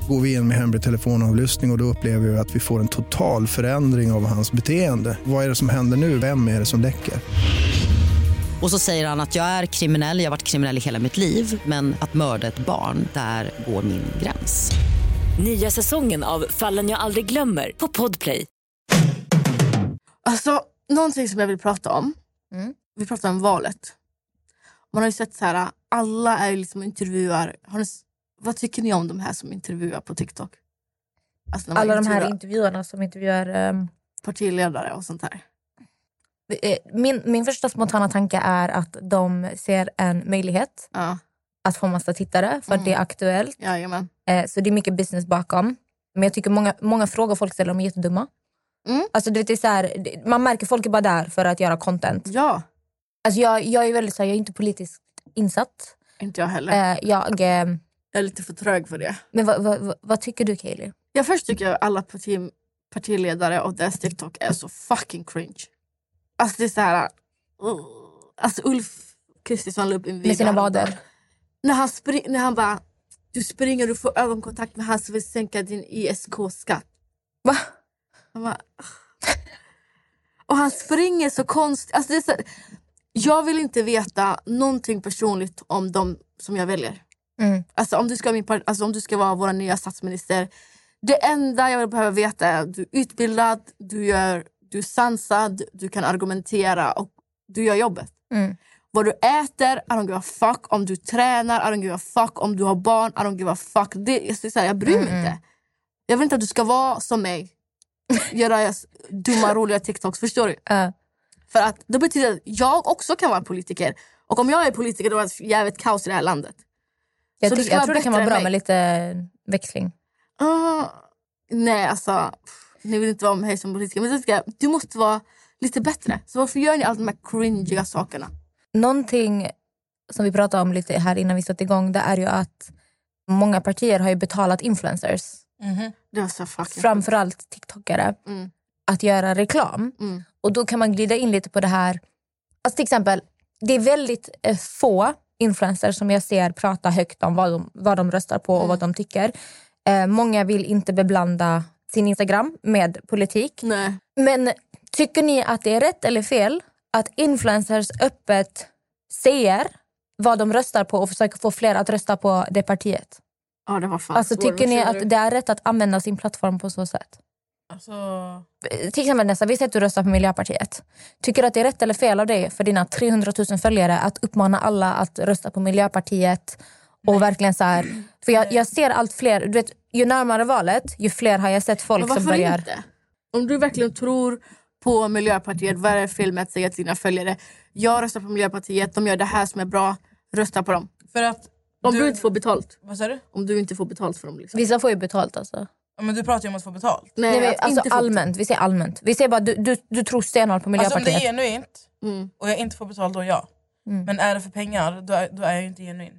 S7: Går vi in med hemlig telefonavlyssning och, och då upplever vi att vi får en total förändring av hans beteende. Vad är det som händer nu? Vem är det som läcker?
S8: Och så säger han att jag är kriminell, jag har varit kriminell i hela mitt liv men att mörda ett barn, där går min gräns.
S6: Nya säsongen av Fallen jag aldrig glömmer på Podplay.
S4: Alltså, någonting som jag vill prata om.
S5: Mm.
S4: Vi pratar om valet. Man har ju sett så här, alla är ju liksom intervjuar. Har ni, s- vad tycker ni om de här som intervjuar på TikTok? Alltså när man
S5: Alla de här
S4: intervjuar
S5: intervjuarna som intervjuar... ehm,
S4: partiledare och sånt där.
S5: eh, min, min första spontana tanke är att de ser en möjlighet
S4: Ja,
S5: att få massa tittare för
S4: Mm.
S5: att det är aktuellt.
S4: jajamän.
S5: Eh, så det är mycket business bakom. Men jag tycker många, många frågor folk ställer de är jättedumma.
S4: Mm.
S5: Alltså, du vet, det är så här, det- man märker folk är bara där för att göra content.
S4: Ja,
S5: Alltså, jag, jag är väldigt så här, jag är inte politiskt insatt.
S4: inte jag heller.
S5: Eh, jag, eh,
S4: Jag är lite för trög för det.
S5: men vad, vad, vad, vad tycker du Kaeli?
S4: Jag först tycker jag alla parti, partiledare och deras TikTok är så fucking cringe. Alltså det är så här... Uh, alltså Ulf Kristersson la upp en video.
S5: Med sina
S4: häromdagen.
S5: vader?
S4: När han, spring, när han bara... Du springer och får ögonkontakt med han som vill sänka din ISK-skatt.
S5: Va?
S4: Han bara, och han springer så konstigt. Alltså det är så, jag vill inte veta någonting personligt om de som jag väljer.
S5: Mm.
S4: Alltså om, du ska vara min, part- alltså om du ska vara vår nya statsminister. Det enda jag vill behöva veta är att du är utbildad, du, gör, du är sansad, du kan argumentera och du gör jobbet.
S5: Mm.
S4: Vad du äter, I don't give a fuck. Om du tränar, I don't give a fuck. Om du har barn, I don't give a fuck. Det, är så här, jag bryr mig inte. Jag vill inte att du ska vara som mig. Göra s- dumma, roliga TikToks. Förstår du?
S5: Ja.
S4: För att det betyder att jag också kan vara politiker. Och om jag är politiker då är det jävligt kaos i det här landet.
S5: Jag,
S4: Så
S5: tycker-
S4: det ska
S5: jag
S4: vara
S5: tror det kan
S4: bättre
S5: vara bra
S4: än
S5: med
S4: mig.
S5: lite mm, växling.
S4: Ah, nej, alltså. pff, Ni vill inte vara med mig som politiker. Men så ska jag, du måste vara lite bättre. Så varför gör ni alla de här cringiga sakerna?
S5: Någonting som vi pratade om lite här innan vi satte igång det är ju att många partier har ju betalat influencers,
S4: Det var så fucking...
S5: framförallt tiktokare,
S4: Mm.
S5: att göra reklam.
S4: Mm.
S5: Och då kan man glida in lite på det här. Alltså till exempel, det är väldigt eh, få influencers som jag ser prata högt om vad de, vad de röstar på och
S4: Mm.
S5: vad de tycker. Eh, många vill inte beblanda sin Instagram med politik.
S4: Nej.
S5: Men tycker ni att det är rätt eller fel att influencers öppet säger vad de röstar på och försöker få fler att rösta på det partiet?
S4: Ja, det var fan
S5: Alltså,
S4: svår.
S5: tycker ni
S4: Vad känner du?
S5: att det är rätt att använda sin plattform på så sätt?
S3: Alltså,
S5: Eh, Till exempel Nessa, vi säger att du röstar på Miljöpartiet. Tycker du att det är rätt eller fel av dig för dina 300 000 följare att uppmana alla att rösta på Miljöpartiet? Och verkligen så här, för jag, jag ser allt fler, du vet, ju närmare valet ju fler har jag sett folk
S4: Men
S5: som
S4: varför
S5: liksom börjar...
S4: inte? Om du verkligen tror på Miljöpartiet, vad är det fel med att säga till dina följare jag röstar på Miljöpartiet, de gör det här som är bra, rösta på dem.
S3: för att...
S4: Om du, inte får betalt.
S3: Vad sa du?
S4: Om du inte får betalt för dem. Liksom.
S5: Vissa får ju betalt alltså.
S3: Ja, Men du pratar ju om att få betalt.
S5: Nej, men,
S4: att
S5: alltså
S4: inte få
S5: allmänt, vi säger allmänt. Vi säger bara du, du, du tror stenhårt på
S3: Alltså om det
S5: Miljöpartiet.
S3: är genuint
S4: Mm.
S3: och jag inte får betalt, då ja.
S5: Mm.
S3: Men är det för pengar, då är, då är jag ju inte genuin.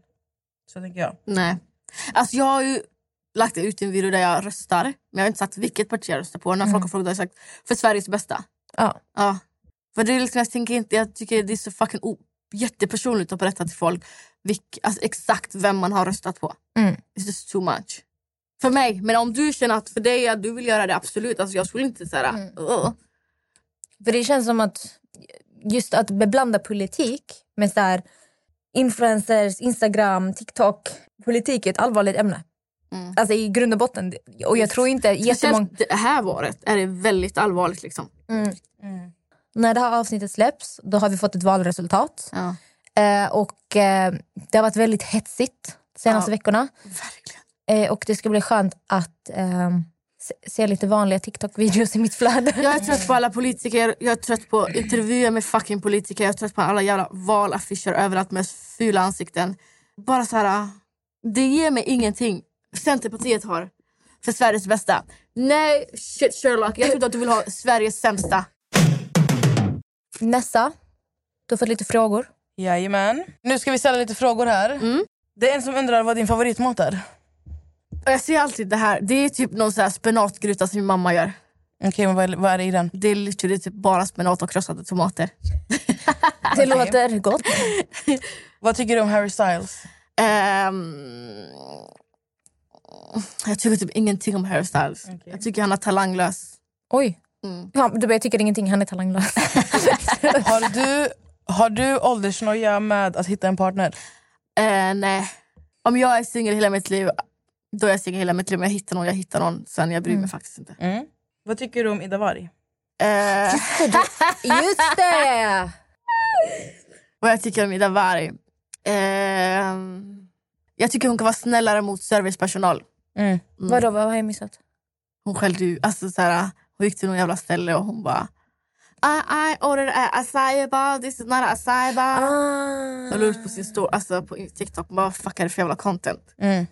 S3: Så tänker jag.
S4: betalt. Nej. Alltså, jag har ju lagt ut en video där jag röstar, men jag har inte sagt vilket parti jag röstar på. När
S5: Mm.
S4: folk har frågat har jag sagt för Sveriges bästa.
S5: Ja.
S4: Ja. För det är liksom, jag, tänker inte, jag tycker det är så fucking o- jättepersonligt att berätta till folk vilk, alltså, exakt vem man har röstat på.
S5: Mm.
S4: It's just too much. För mig. Men om du känner att för dig att du vill göra det, absolut. Alltså, jag skulle inte säga
S5: Mm.
S4: "Ugh."
S5: För det känns som att just att beblanda politik med så här, influencers, Instagram, TikTok. Politik är ett allvarligt ämne.
S4: Mm.
S5: Alltså i grund och botten. Och jag tror inte jättemånga...
S4: Speciellt det här året är det väldigt allvarligt. Liksom.
S5: Mm.
S3: Mm.
S5: När det här avsnittet släpps då har vi fått ett valresultat.
S4: Ja.
S5: Eh, och eh, det har varit väldigt hetsigt de senaste
S4: Ja.
S5: veckorna.
S4: Verkligen.
S5: Eh, och det ska bli skönt att ehm, se, se lite vanliga TikTok-videos i mitt flöde.
S4: Jag är trött på alla politiker, jag är trött på intervjuer med fucking politiker, jag är trött på alla jävla valaffischer överallt med fula ansikten. Bara så här, det ger mig ingenting. Centerpartiet har för Sveriges bästa. Nej, shit Sherlock, jag trodde att du ville ha Sveriges sämsta.
S5: Nessa, du har fått lite frågor.
S3: Jajamän. Nu ska vi ställa lite frågor här.
S4: Mm.
S3: Det är en som undrar vad din favoritmat är.
S4: Och jag ser alltid det här, det är typ någon så här spenatgryta som min mamma gör.
S3: Okej, men vad är, vad är det i den?
S4: Det är literally typ bara spenat och krossade tomater.
S5: Det låter gott.
S3: Vad tycker du om Harry Styles?
S4: Ehm, jag tycker typ ingenting om Harry Styles. Jag tycker han är talanglös.
S5: Oj.
S4: Mm.
S5: Ja, du bara, jag tycker ingenting, han är talanglös.
S3: Har du, har du åldersnoja med att hitta en partner?
S4: Eh, nej. Om jag är singel hela mitt liv, då är jag singel hela mitt liv. Om jag hittar någon, jag hittar någon. Sen jag bryr mig faktiskt inte.
S3: Mm. Vad tycker du om Ida Warg?
S4: Eh,
S5: Just det! Mm.
S4: vad jag tycker om Ida Warg? Ehm, jag tycker hon kan vara snällare mot servicepersonal.
S5: Mm. Vadå, vad har jag missat?
S4: Hon skällde ju, alltså så här, hon gick till någon jävla ställe och hon bara I, I ordered a acai bar, this is not an acai bar.
S5: Ah.
S4: Jag la ut på sin stor, alltså på TikTok, bara vad fuck är det för jävla content?
S5: Mm.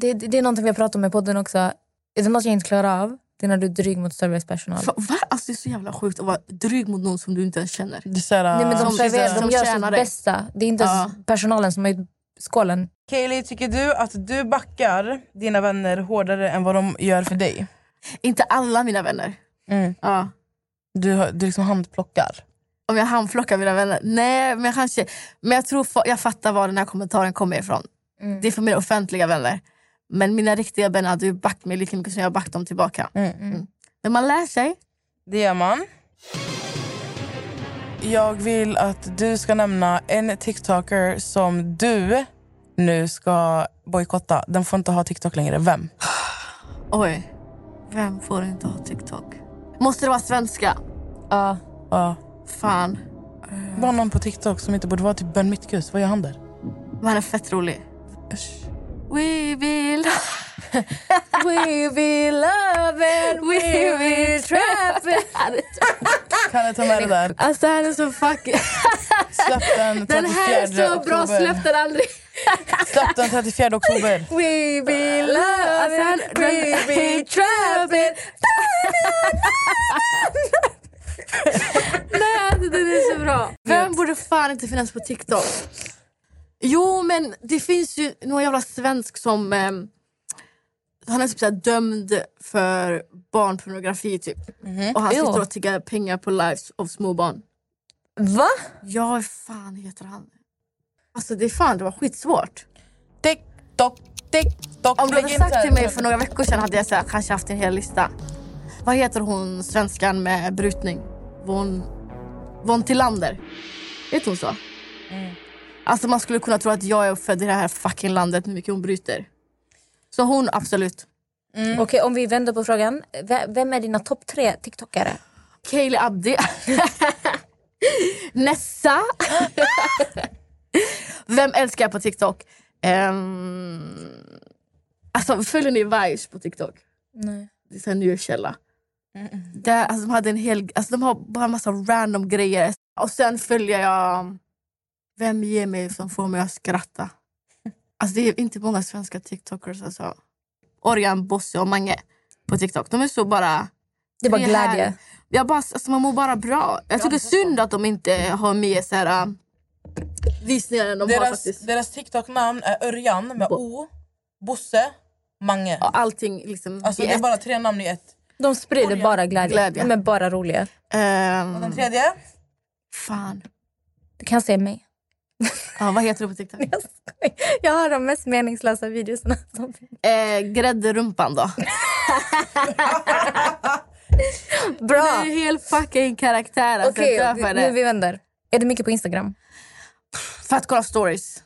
S5: Det, det, det är någonting vi har pratat om i podden också. Är det något jag inte klarar av, det är när du är dryg mot servicepersonal.
S4: Fa- Va? Alltså, det är så jävla sjukt att vara dryg mot någon som du inte ens känner.
S3: Det är så här, eh,
S5: Nej, men de,
S4: Som-
S5: serverar,
S4: som
S5: de gör sitt
S4: tjänar dig.
S5: bästa. Det är inte ens personalen som har gjort skålen.
S3: Kaeli, tycker du att du backar dina vänner hårdare än vad de gör för dig?
S4: Inte alla mina vänner.
S3: Mm.
S4: Ja.
S3: Du, har- du liksom handplockar.
S4: Om jag handplockar mina vänner? Nej, men jag kanske... Men jag tror fa- jag fattar var den här kommentaren kommer ifrån.
S3: Mm.
S4: Det är för mina offentliga vänner. Men mina riktiga vänner hade ju backat mig lika mycket som jag har backat dem tillbaka.
S3: Mm.
S4: Mm. Men man lär sig.
S3: Det gör man. Jag vill att du ska nämna en TikToker som du nu ska bojkotta. Den får inte ha TikTok längre. Vem?
S4: Oj, vem får inte ha TikTok? Måste det vara svenska?
S5: Ja.
S3: Ja.
S4: Fan,
S3: Var någon på TikTok som inte borde vara typ Ben Mitkus. Vad gör han där?
S4: men han är fett rolig.
S3: Usch.
S4: We will...
S5: We will love and we will trap
S3: Kan jag ta med det där?
S4: Alltså han är så fucking...
S3: Släpp den 34
S4: Den här är så bra,
S3: oktober.
S4: släpp den aldrig!
S3: Släpp den 34 oktober.
S5: We be
S4: Alltså, han-
S5: loving, we be trapping
S4: Nej, alltså, den är så bra. Vem borde fan inte finnas på TikTok? Jo, men det finns ju någon jävla svensk som... Eh, han är typ såhär dömd för barnpornografi typ. Och han
S5: Jo.
S4: sitter och tiggar pengar på lives av småbarn.
S5: Va?
S4: Ja, vad fan heter han? Alltså det är fan, det var skitsvårt.
S3: TikTok, TikTok.
S4: Om du hade
S3: Lägg in så
S4: sagt
S3: här.
S4: till mig för några veckor sedan hade jag så här, kanske haft en hel lista. Vad heter hon svenskan med brutning? Von, Von Tillander. Vet hon så? Alltså man skulle kunna tro att jag är född i det här fucking landet hur mycket hon bryter. Så hon, absolut. Mm.
S5: Okej, om vi vänder på frågan. V- Vem är dina topp tre TikTokare?
S4: Kaeli Abdi. Nessa. Vem älskar jag på TikTok? Um, alltså följer ni Vice på TikTok?
S5: Nej.
S4: det är så här nyårskälla. Där, alltså, de, hade en hel, alltså, de har bara en massa random grejer. Och sen följer jag... Vem ger mig som får mig att skratta? Alltså, det är inte många svenska TikTokers. Alltså. Orjan, Bosse och Mange på TikTok. De är så bara...
S5: Det var
S4: är
S5: glädje.
S4: härligt. Jag bara, alltså, man mår bara bra. Jag tycker synd att de inte har med så här, äh, visningar än de har
S3: Deras,
S4: faktiskt.
S3: deras TikTok-namn är Örjan med O, Bosse, Mange.
S4: Ja, Allting liksom
S3: Alltså
S4: i
S3: det är
S4: ett.
S3: bara tre namn i ett.
S5: De sprider bara glädje.
S4: Glädje.
S5: De är bara roliga.
S4: Ehm,
S5: Mm.
S3: Den tredje?
S4: fan.
S5: Du kan se mig.
S4: Ja, vad heter du på TikTok?
S5: Jag skojar. Jag har de mest meningslösa videorna som finns.
S4: Eh, Gräddrumpan då? Det är
S5: Bra!
S4: en hel fucking karaktär. Alltså,
S5: Okej,
S4: jag dör för,
S5: vi- nu
S4: det.
S5: vi vänder. Är det mycket på Instagram?
S4: för att kolla stories.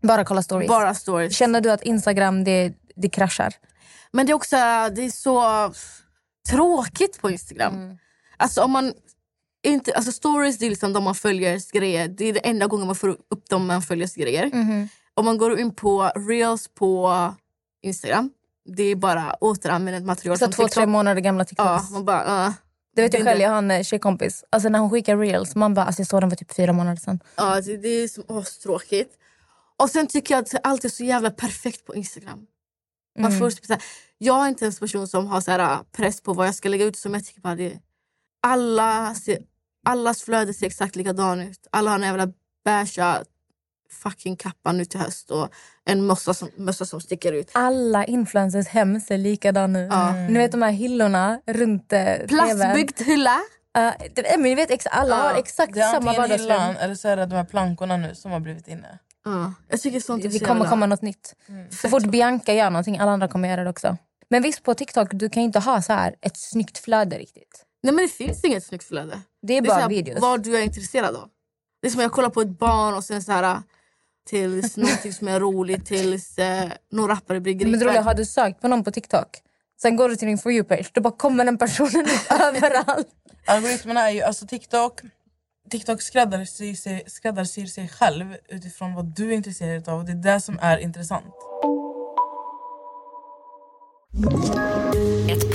S5: Bara kolla stories.
S4: Bara stories.
S5: Känner du att Instagram det, det kraschar?
S4: Men det är också det är så tråkigt på Instagram.
S5: Mm.
S4: Alltså om man inte, alltså stories det är liksom de man följer grejer. Det är den enda gången man får upp dem man följer grejer.
S5: Mm.
S4: Om man går in på reels på Instagram. Det är bara återanvänt material.
S5: Så
S4: från
S5: två,
S4: TikTok.
S5: tre månader gamla TikToks.
S4: Ja, man bara, uh,
S5: Det vet jag
S4: Det är
S5: själv, jag har en eh, tjejkompis. Alltså när hon skickar reels, man bara alltså jag såg den för typ fyra månader sedan.
S4: ja, det, det är som astråkigt. Och sen tycker jag att allt är så jävla perfekt på Instagram. Man
S5: Mm.
S4: får typ så här, jag är inte en person som har så här, äh, press på vad jag ska lägga ut. Som jag tycker bara det, alla ser, allas flöde ser exakt likadan ut. Alla har en jävla beiga fucking kappa nu till höst och en mössa som, mössa som sticker ut.
S5: Alla influencers hem ser likadana ut.
S4: Ja.
S5: Ni vet de här hyllorna runt eh, TVn.
S4: Plastbyggd hylla.
S5: Uh, men ni vet, ex- alla
S4: Ja,
S5: har exakt
S3: Det är
S5: samma
S3: antingen
S5: vardagsrum.
S3: hyllan eller så är det de här plankorna nu som har blivit inne.
S4: Ja, jag tycker sånt är
S5: Det
S4: så
S5: kommer
S4: jävla-
S5: komma något nytt. Så fort Bianca gör någonting, alla andra kommer göra det också. Men visst, på TikTok du kan ju inte ha så här ett snyggt flöde riktigt.
S4: Nej men det finns inget snyggt flöde.
S5: Det är
S4: Det är så
S5: bara
S4: här,
S5: videos.
S4: vad du är intresserad av. Det är som jag kollar på ett barn och sen så här tills någonting som är roligt tills eh, någon rappare blir gripen.
S5: Men det roliga, har du sökt på någon på TikTok? Sen går du till din For you-page, då bara kommer den personen överallt.
S3: Algoritmerna är ju, alltså TikTok TikTok skräddarsyr sig, skräddarsyr sig själv utifrån vad du är intresserad av och det är det som är intressant.
S6: Ett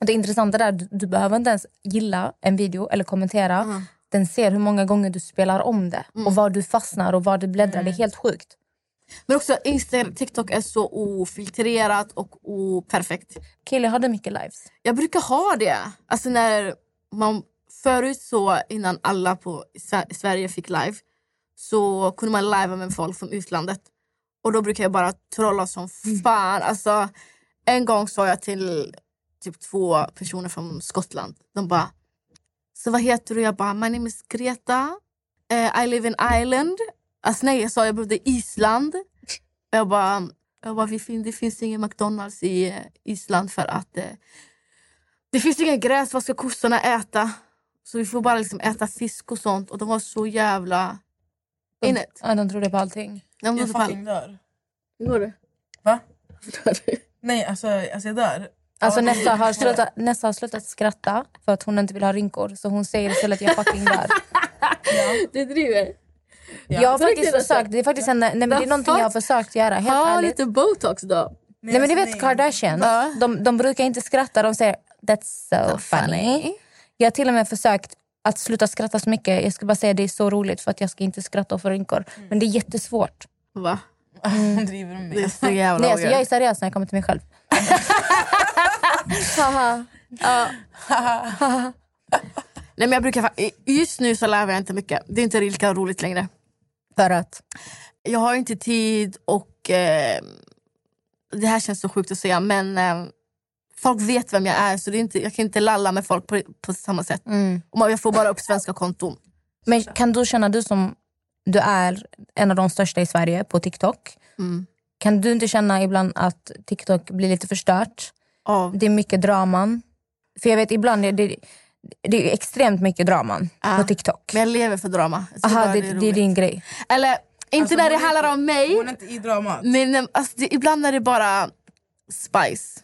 S5: Och det intressanta är att du, du behöver inte ens gilla en video eller kommentera. Den ser hur många gånger du spelar om det och var du fastnar och var du bläddrar. Det är helt sjukt.
S4: Men också Instagram, TikTok är så ofiltrerat och operfekt.
S5: Kille, har du mycket lives?
S4: Jag brukar ha det. Alltså när man förut så innan alla på Sa- Sverige fick live så kunde man livea med folk från utlandet. Och då brukar jag bara trolla som fan. Alltså, en gång sa jag till typ två personer från Skottland. De bara, så vad heter du? Jag bara, my name is Greta. Eh, I live in Ireland. Alltså nej, jag sa jag bodde i Island. Och Jag bara, jag bara vi fin- det finns ingen McDonalds i eh, Island för att eh, det finns inga gräs, vad ska kossorna äta? Så vi får bara liksom äta fisk och sånt. Och de var så jävla...
S5: De-
S4: Innet.
S5: Ja, de trodde på allting.
S4: De var
S3: Jag
S4: så fall.
S3: fucking dör.
S4: Hur går det?
S3: Va?
S4: Dör du?
S3: Nej, alltså, alltså jag dör.
S5: Alltså
S3: Ja, de-
S5: Nessa, har slutat, Nessa har slutat skratta för att hon inte vill ha rynkor. Så hon säger istället jag fucking dör.
S4: Du driver?
S5: Jag har
S4: Så riktigt,
S5: faktiskt
S4: alltså.
S5: försökt. Det är faktiskt en, nej, men det är
S4: Vad
S5: någonting jag har
S4: fuck?
S5: försökt göra. Helt
S4: Ha
S5: ärligt.
S4: lite botox då.
S5: Nej, men du
S3: alltså,
S5: vet Kardashian. De, de brukar inte skratta. De säger that's so funny. Jag har till och med försökt att sluta skratta så mycket. Jag ska bara säga det är så roligt för att jag ska inte skratta och få rynkor. Men det är jättesvårt.
S4: Va?
S3: Hon driver med
S4: Det är
S3: mig.
S4: så jävla
S5: Nej, alltså, jag är
S4: weird.
S5: seriös när jag kommer till mig själv.
S4: Nej, men jag brukar, fa- just nu så lär jag inte mycket. Det är inte lika roligt längre.
S5: För att
S4: jag har inte tid och eh, det här känns så sjukt att säga men eh, folk vet vem jag är så det är inte, jag kan inte lalla med folk på, på samma sätt.
S5: Mm.
S4: Och man, jag får bara upp svenska konton.
S5: Men kan du känna, du som du är en av de största i Sverige på TikTok. Kan du inte känna ibland att TikTok blir lite förstört?
S4: Av,
S5: Det är mycket draman. För jag vet ibland, det, det, det är extremt mycket draman
S4: Ja.
S5: på TikTok.
S4: men jag lever för drama. Jag tycker
S5: Aha,
S4: bara
S5: det,
S4: är
S5: det är
S4: roligt.
S5: din grej.
S4: Eller inte
S3: Alltså,
S4: när det
S3: hon är
S4: handlar om mig
S3: Hon är inte i dramat.
S4: men eh, alltså, det, ibland är det bara spice.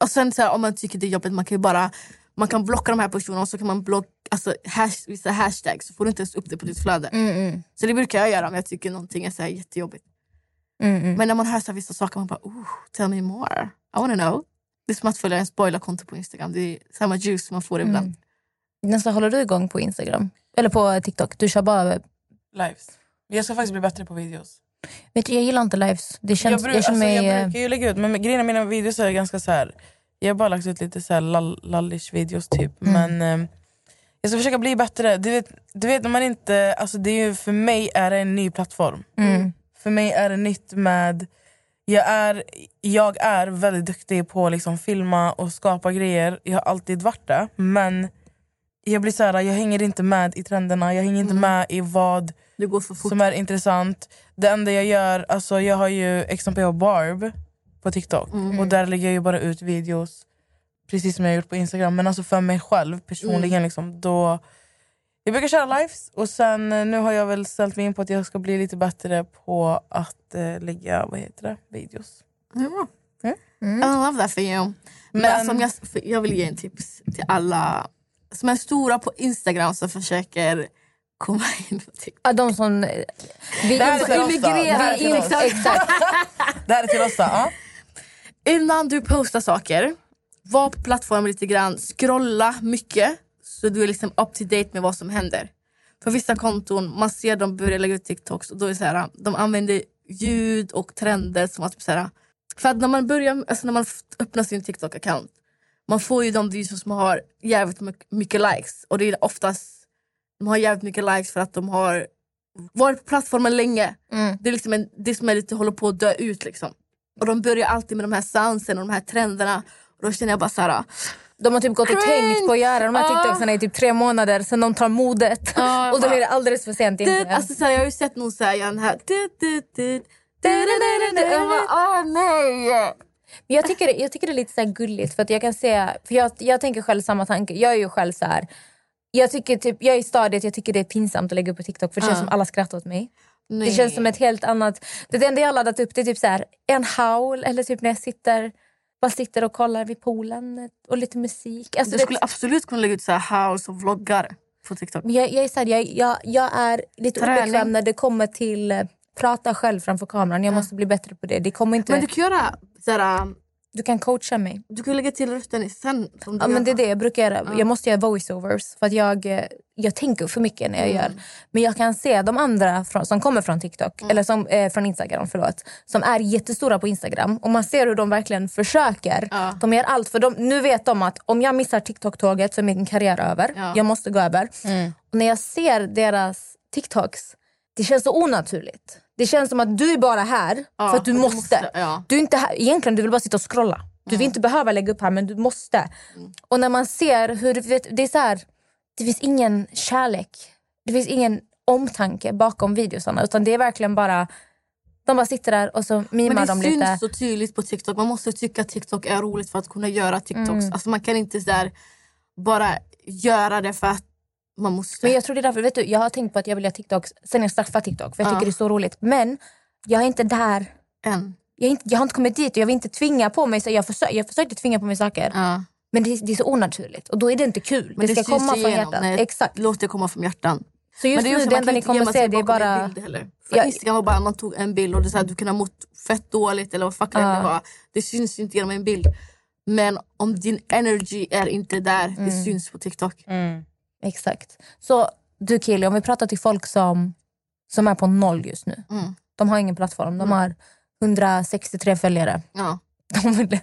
S4: Och sen så här, om man tycker det är jobbigt man kan ju bara man kan blocka de här personerna och så kan man blocka alltså, hash, vissa hashtags så får du inte ens upp det på ditt flöde.
S5: Mm.
S4: Så det brukar jag göra om jag tycker någonting är så här jättejobbigt. Men när man hör så här vissa saker, man bara oh, tell me more. I wanna know. Det är som att följa en spoilerkonto på Instagram. Det är samma juice man får ibland.
S5: Nästan håller du igång på Instagram? Eller på TikTok? Du kör bara...
S3: Lives. Men Jag ska faktiskt bli bättre på videos.
S5: Vet du, jag gillar inte lives. Det känns, jag,
S3: bruk-
S5: känner mig...
S3: alltså, jag
S5: eh,
S3: brukar ju lägga ut, men grejen är mina videos är ganska så här. Jag har bara lagt ut lite så här lall- lallish videos typ.
S5: Mm.
S3: Men eh, jag ska försöka bli bättre. Du vet, du vet när man inte, alltså det är ju, för mig är det en ny plattform.
S5: Mm.
S3: För mig är det nytt med, jag är, jag är väldigt duktig på att liksom filma och skapa grejer. Jag har alltid varit det. Men jag blir så här, jag hänger inte med i trenderna, jag hänger inte
S5: Mm.
S3: med i vad
S4: Det går så fort.
S3: som är intressant. Det enda jag gör, alltså jag har ju XMPH Barb på TikTok och där lägger jag ju bara ut videos precis som jag har gjort på Instagram. Men alltså för mig själv personligen liksom, då jag brukar köra lives och sen eh, nu har jag väl ställt mig in på att jag ska bli lite bättre på att eh, lägga, vad heter det, videos.
S4: I love that for you. Men,
S3: Men-
S4: alltså, om jag, för jag vill ge en tips till alla som är stora på Instagram som försöker komma in på TikTok.
S5: ja, de som... eh, Vi,
S3: Det här är
S5: vi-
S3: till oss då. Det här är
S5: vi,
S3: till oss.
S5: in- exakt.
S3: Det här är till oss då. Ja.
S4: Innan du postar saker, var på plattformen lite grann, scrolla mycket så du är liksom up to date med vad som händer. För vissa konton, man ser dem börja lägga ut TikToks och då är det så här, de använder ljud och trender som att typ så här, för att när man börjar, alltså när man f- öppnar sin TikTok-account, man får ju de videos som har jävligt my- mycket likes och det är oftast, de har jävligt mycket likes för att de har varit på plattformen länge. Det är liksom en, det som är lite håller på att dö ut liksom. Och de börjar alltid med de här soundsen och de här trenderna. Och då känner jag bara så här...
S5: De har typ gått och
S4: Cringe.
S5: tänkt på att göra de
S3: Ah.
S5: här
S4: Ja.
S5: TikToksarna i typ tre månader sen de tar modet.
S4: Ja,
S5: och då
S4: bara-
S5: är det alldeles för sent in.
S4: Det, alltså, så här, jag har ju sett någon säga den här... Du, du, du, du, du, du, du, du. Jag bara, åh nej!
S5: Men jag, tycker, jag tycker det är lite så här gulligt. För att jag kan se, för jag, jag tänker själv samma tanke. Jag är ju själv så här... Jag, tycker typ, jag är i stadiet jag tycker det är pinsamt att lägga upp på TikTok för det
S3: Ah.
S5: känns
S4: Ja.
S5: som alla skrattar åt mig.
S4: Nej.
S5: Det känns som ett helt annat... Det enda jag har laddat upp det är typ så här, en howl eller typ när jag sitter, bara sitter och kollar vid poolen och lite musik. Alltså,
S4: du
S5: det-
S4: skulle absolut kunna lägga ut så här house och vloggar på TikTok.
S5: Men jag, jag, är så här, jag, jag, jag är lite
S4: Träning.
S5: obekväm när det kommer till eh, prata själv framför kameran. Jag måste bli bättre på det. det kommer inte,
S4: Men
S5: du,
S4: du kan göra så här, um,
S5: kan coacha mig.
S4: Du kan lägga till rösten i sen. Som du
S5: Ja, men
S4: gör.
S5: det är det jag brukar göra. Jag måste göra voiceovers för att jag, eh, jag tänker för mycket
S4: Mm.
S5: när jag gör. Men jag kan se de andra från, som kommer från TikTok,
S4: Mm.
S5: eller som, eh, från Instagram, förlåt, som är jättestora på Instagram. Och man ser hur de verkligen försöker.
S4: Ja.
S5: De gör allt. För de, nu vet de att om jag missar TikTok-tåget så är min karriär över.
S4: Ja. Mm.
S5: Jag måste gå över. Och när jag ser deras TikToks, det känns så onaturligt. Det känns som att du är bara här
S4: Ja,
S5: för att du
S4: och du
S5: måste.
S4: måste, ja. Mm.
S5: Du är inte här, egentligen du vill bara sitta och scrolla. Du vill inte behöva lägga upp här men du måste. Och när man ser hur, du vet, det är så här, det finns ingen kärlek. Det finns ingen omtanke bakom videosarna utan det är verkligen bara, de bara sitter där och så mimar
S4: Men det
S5: de
S4: syns
S5: lite.
S4: så tydligt på TikTok. Man måste tycka att TikTok är roligt för att kunna göra TikToks.
S5: Mm.
S4: Alltså man kan inte så där bara göra det för att man måste.
S5: Men jag tror det är därför, vet du, jag har tänkt på att jag vill göra TikTok sen jag straffar TikTok för jag
S4: Ja.
S5: tycker det är så roligt. Men jag är inte där
S4: Än.
S5: jag, är inte, jag har inte kommit dit och jag vill inte tvinga på mig. Så jag, försö, jag försökte tvinga på mig saker
S4: Ja.
S5: men det, det är så onaturligt och då är det inte kul.
S4: Men
S5: det ska
S4: syns
S5: komma från
S4: igenom.
S5: hjärtat.
S4: Nej,
S5: Exakt.
S4: Låt det komma från hjärtan.
S5: Så just
S4: Men det är
S5: nu,
S4: också,
S5: det
S4: man
S5: enda
S4: kan
S5: ni
S4: inte
S5: kommer
S4: gömma
S5: se
S4: sig
S5: det är
S4: bakom en
S5: bara...
S4: bild heller. För
S5: Ja.
S4: Instagram var bara man tog en bild och det är så här, du kunde ha mått fett dåligt eller vad fuck det
S5: Ja.
S4: var. Det syns inte genom en bild. Men om din energy är inte där, det
S5: Mm.
S4: syns på TikTok.
S5: Exakt. Så du Kili, om vi pratar till folk som, som är på noll just nu.
S4: Mm.
S5: De har ingen plattform. De har 163 följare.
S4: Ja.
S5: De vill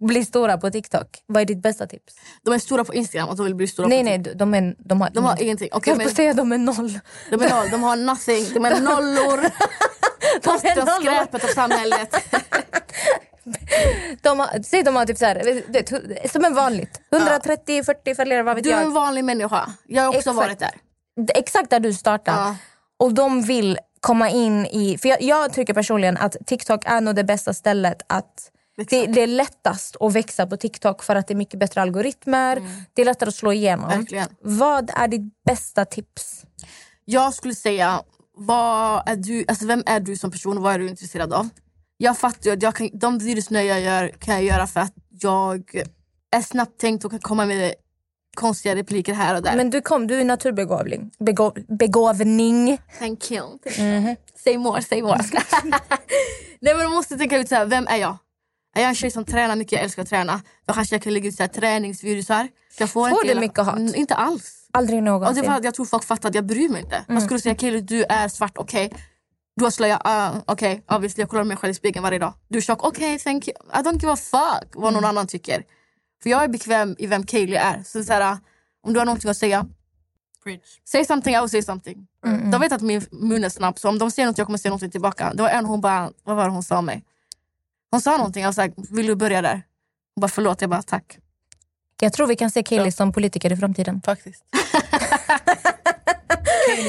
S5: bli stora på TikTok. Vad är ditt bästa tips?
S4: De är stora på Instagram och de vill bli stora
S5: nej,
S4: på
S5: nej, de, är, de har...
S4: De har ingenting.
S5: jag
S4: Okej,
S5: höll på
S4: men
S5: att säga de är noll.
S4: de, är noll, de har nothing. De är nollor. Postar skräpet av samhället.
S5: De har, säg de har typ så här, du vet, hu- som en vanligt. 130, 40 följare, vad vet
S4: Du är en
S5: jag.
S4: vanlig människa. Jag har också
S5: Exakt.
S4: varit där.
S5: D- Exakt där du startar.
S4: Ja.
S5: Och de vill komma in i... För jag, jag tycker personligen att TikTok är nog det bästa stället att... Det, det är lättast att växa på TikTok för att det är mycket bättre algoritmer. Det är lättare att slå igenom.
S4: Mm. Verkligen.
S5: Vad är ditt bästa tips?
S4: Jag skulle säga, vad är du, alltså vem är du som person och vad är du intresserad av? Jag fattar ju att jag kan, de videosnöer jag gör kan jag göra för att jag är snabbt tänkt och kan komma med konstiga repliker här och där.
S5: Men du kom, du är naturbegåvning. Begå, begåvning.
S4: Thank you.
S5: Mm-hmm.
S4: Say more, say more. Nej men du måste tänka ut så här, vem är jag? Är jag en tjej som tränar mycket, jag älskar att träna. Då kanske jag kan lägga ut så här, träningsvideosar. Jag får
S5: Får
S4: inte
S5: du
S4: hela-
S5: mycket hat?
S4: Mm, Inte alls.
S5: Aldrig
S4: Och det
S5: någonsin.
S4: var, att Alltså, jag tror folk fattar att jag bryr mig inte. Man
S5: Mm.
S4: skulle säga Kaeli du är svart, okej. Du har slöja, uh, okej. Obviously, jag kollar mig själv i spegeln varje dag. Du är tjock, okej thank you. I don't give a fuck vad
S5: Mm.
S4: någon annan tycker. För jag är bekväm i vem Kaeli är. Så, det är så här, uh, om du har någonting att säga, say something, I will say something. De vet att min mun är snabb så om de säger något jag kommer säga någonting tillbaka. Det var en hon bara, vad var det hon sa om mig? Hon sa någonting, jag var så här, vill du börja där? Hon bara förlåt, jag bara tack.
S5: Jag tror vi kan se Kaeli som politiker i framtiden.
S9: Faktiskt.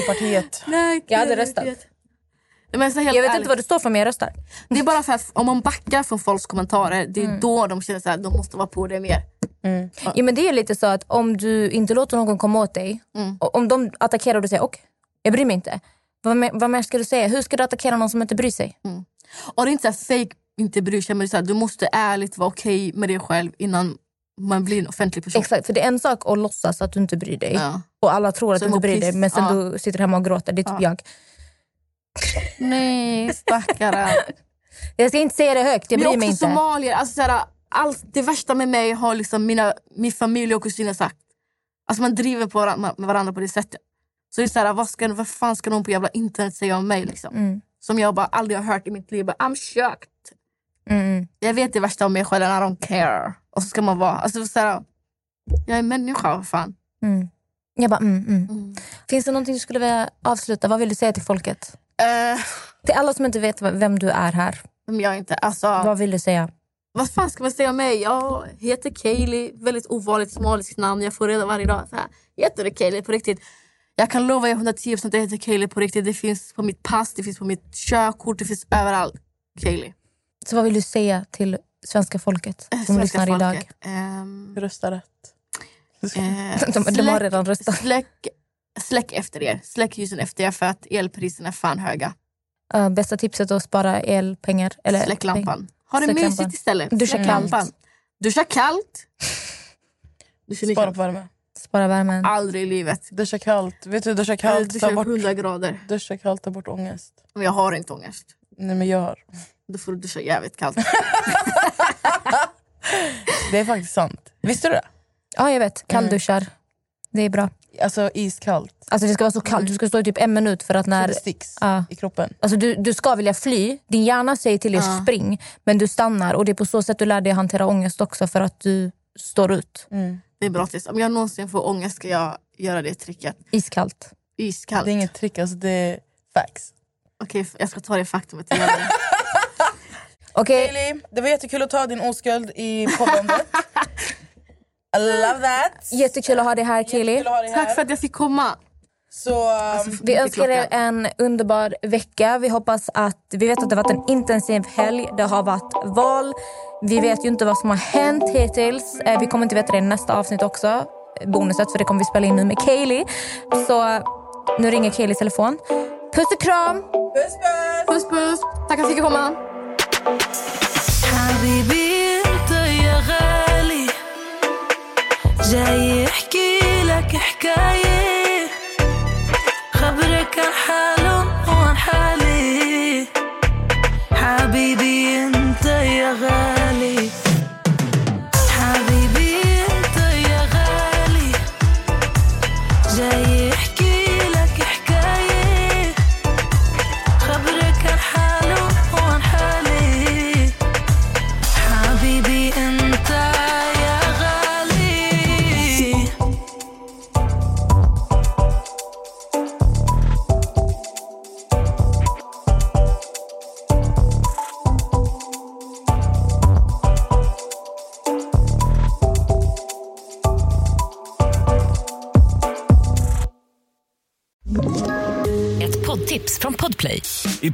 S9: Partiet.
S4: Nej,
S5: Jag hade röstat.
S4: Men så helt
S5: Jag vet
S4: ärligt.
S5: inte vad det står för men jag röstar.
S4: Det är bara för att om man backar från folks kommentarer, det är då de känner så här, de måste vara på det mer.
S5: Ja, men det är lite så att om du inte låter någon komma åt dig,
S4: Mm.
S5: och om de attackerar och du säger okej, jag bryr mig inte. Vad, mer- vad mer ska du säga? Hur ska du attackera någon som inte bryr sig?
S4: Mm. Och det är inte så här fake inte bryr sig, men det är så här, du måste ärligt vara okej med dig själv innan man blir en offentlig person.
S5: Exakt, för det är en sak att låtsas att du inte bryr dig.
S4: Ja.
S5: Och alla tror att
S4: Så
S5: du inte
S4: mår
S5: bryr dig
S4: piss.
S5: men sen
S4: Ja.
S5: du sitter hemma och gråter. Det är typ jag.
S4: Nej, stackare.
S5: Jag ska inte säga det högt, jag
S4: men
S5: bryr mig
S4: också
S5: inte.
S4: somalier. Alltså så här, allt, det värsta med mig har liksom mina, min familj och kusiner sagt. Alltså man driver på varandra, med varandra på det sättet. Så det är så här, vad, ska, vad fan ska någon på jävla internet säga om mig? Liksom? Som jag bara aldrig har hört i mitt liv. Bara, I'm shocked.
S5: Mm.
S4: jag vet det värsta om mig själv, I don't care. Och så ska man vara, alltså så här, jag är människa, vad fan.
S5: Jag bara, mm, mm. Finns det någonting du skulle vilja avsluta? Vad vill du säga till folket?
S4: Eh,
S5: Till alla som inte vet vem du är här.
S4: men jag är inte, alltså
S5: Vad vill du säga?
S4: Vad fan ska man säga om mig? Jag heter Kaylee, väldigt ovanligt somaliskt namn. Jag får reda varje dag. Så här, heter du Kaylee på riktigt? Jag kan lova er 110 att jag heter Kaylee på riktigt. Det finns på mitt pass, det finns på mitt körkort, det finns överallt. Kaylee.
S5: Så vad vill du säga till svenska folket som
S4: svenska
S5: lyssnar idag?
S4: folket, ehm,
S3: Rösta rätt. Eh,
S5: De, de har redan röstat.
S4: släck, släck efter er. Släck ljusen efter er för att elpriserna är fan höga.
S5: Ja, Eh, bästa tipset är att spara elpengar. Eller
S4: Släck lampan. Ha det
S5: Släck lampan.
S4: mysigt istället.
S5: Duscha
S4: Släck
S5: kallt.
S4: lampan. Duscha kallt. Duscha
S3: Spara
S4: kallt.
S3: på värme.
S5: Spara värmen.
S4: Aldrig i livet.
S3: Duscha kallt. Vet du, duscha kallt.
S4: Duscha
S3: Ta bort,
S4: 100 grader.
S3: duscha kallt, ta bort ångest.
S4: Men jag har inte ångest.
S3: Nej men jag har.
S4: Då får du duscha jävligt kallt.
S3: Det är faktiskt sant. Visste du det?
S5: Ja, jag vet. Kallduschar. Det är bra.
S3: Alltså iskallt.
S5: Alltså det ska vara så kallt. Du ska stå i typ en minut för att
S3: Så
S5: när...
S3: det sticks
S5: Ja.
S3: i kroppen.
S5: Alltså du, du ska vilja fly. Din hjärna säger till dig spring, men du stannar. Och Det är på så sätt du lär dig hantera ångest också för att du står ut.
S4: Det är bra tips. Om jag någonsin får ångest ska jag göra det tricket.
S5: Iskallt.
S4: Iskallt.
S3: Det är inget trick, alltså det är facts.
S4: Okej, f- jag ska ta det faktumet. Jag gör det.
S5: Okej,
S3: Hailey, det var jättekul att ta din oskuld i poddandet. I love that.
S5: jättekul att ha dig här Kili.
S3: Kul att ha dig här.
S4: Tack för att jag fick komma.
S3: Så, um,
S5: Vi
S4: Mycket
S5: önskar er
S4: Alltså, klockan.
S5: en underbar vecka. Vi hoppas att... Vi vet att det har varit en intensiv helg. Det har varit val. Vi vet ju inte vad som har hänt hittills. Eh, Vi kommer inte veta det i nästa avsnitt också. eh, Bonuset, för det kommer vi spela in nu med Kaylee. Så eh, nu ringer Kayleys telefon. Puss och kram!
S3: puss puss!
S4: Puss puss. Tack för att jag fick komma.
S2: حبيبي انت يا غالي جاي احكي لك حكاية خبرك عن حالهم وعن حالي حبيبي انت يا غالي حبيبي انت يا غالي جاي احكي لك حكاية خبرك عن حالهم وعن حالي حبيبي انت يا غالي
S6: Ett poddtips från Podplay.
S10: I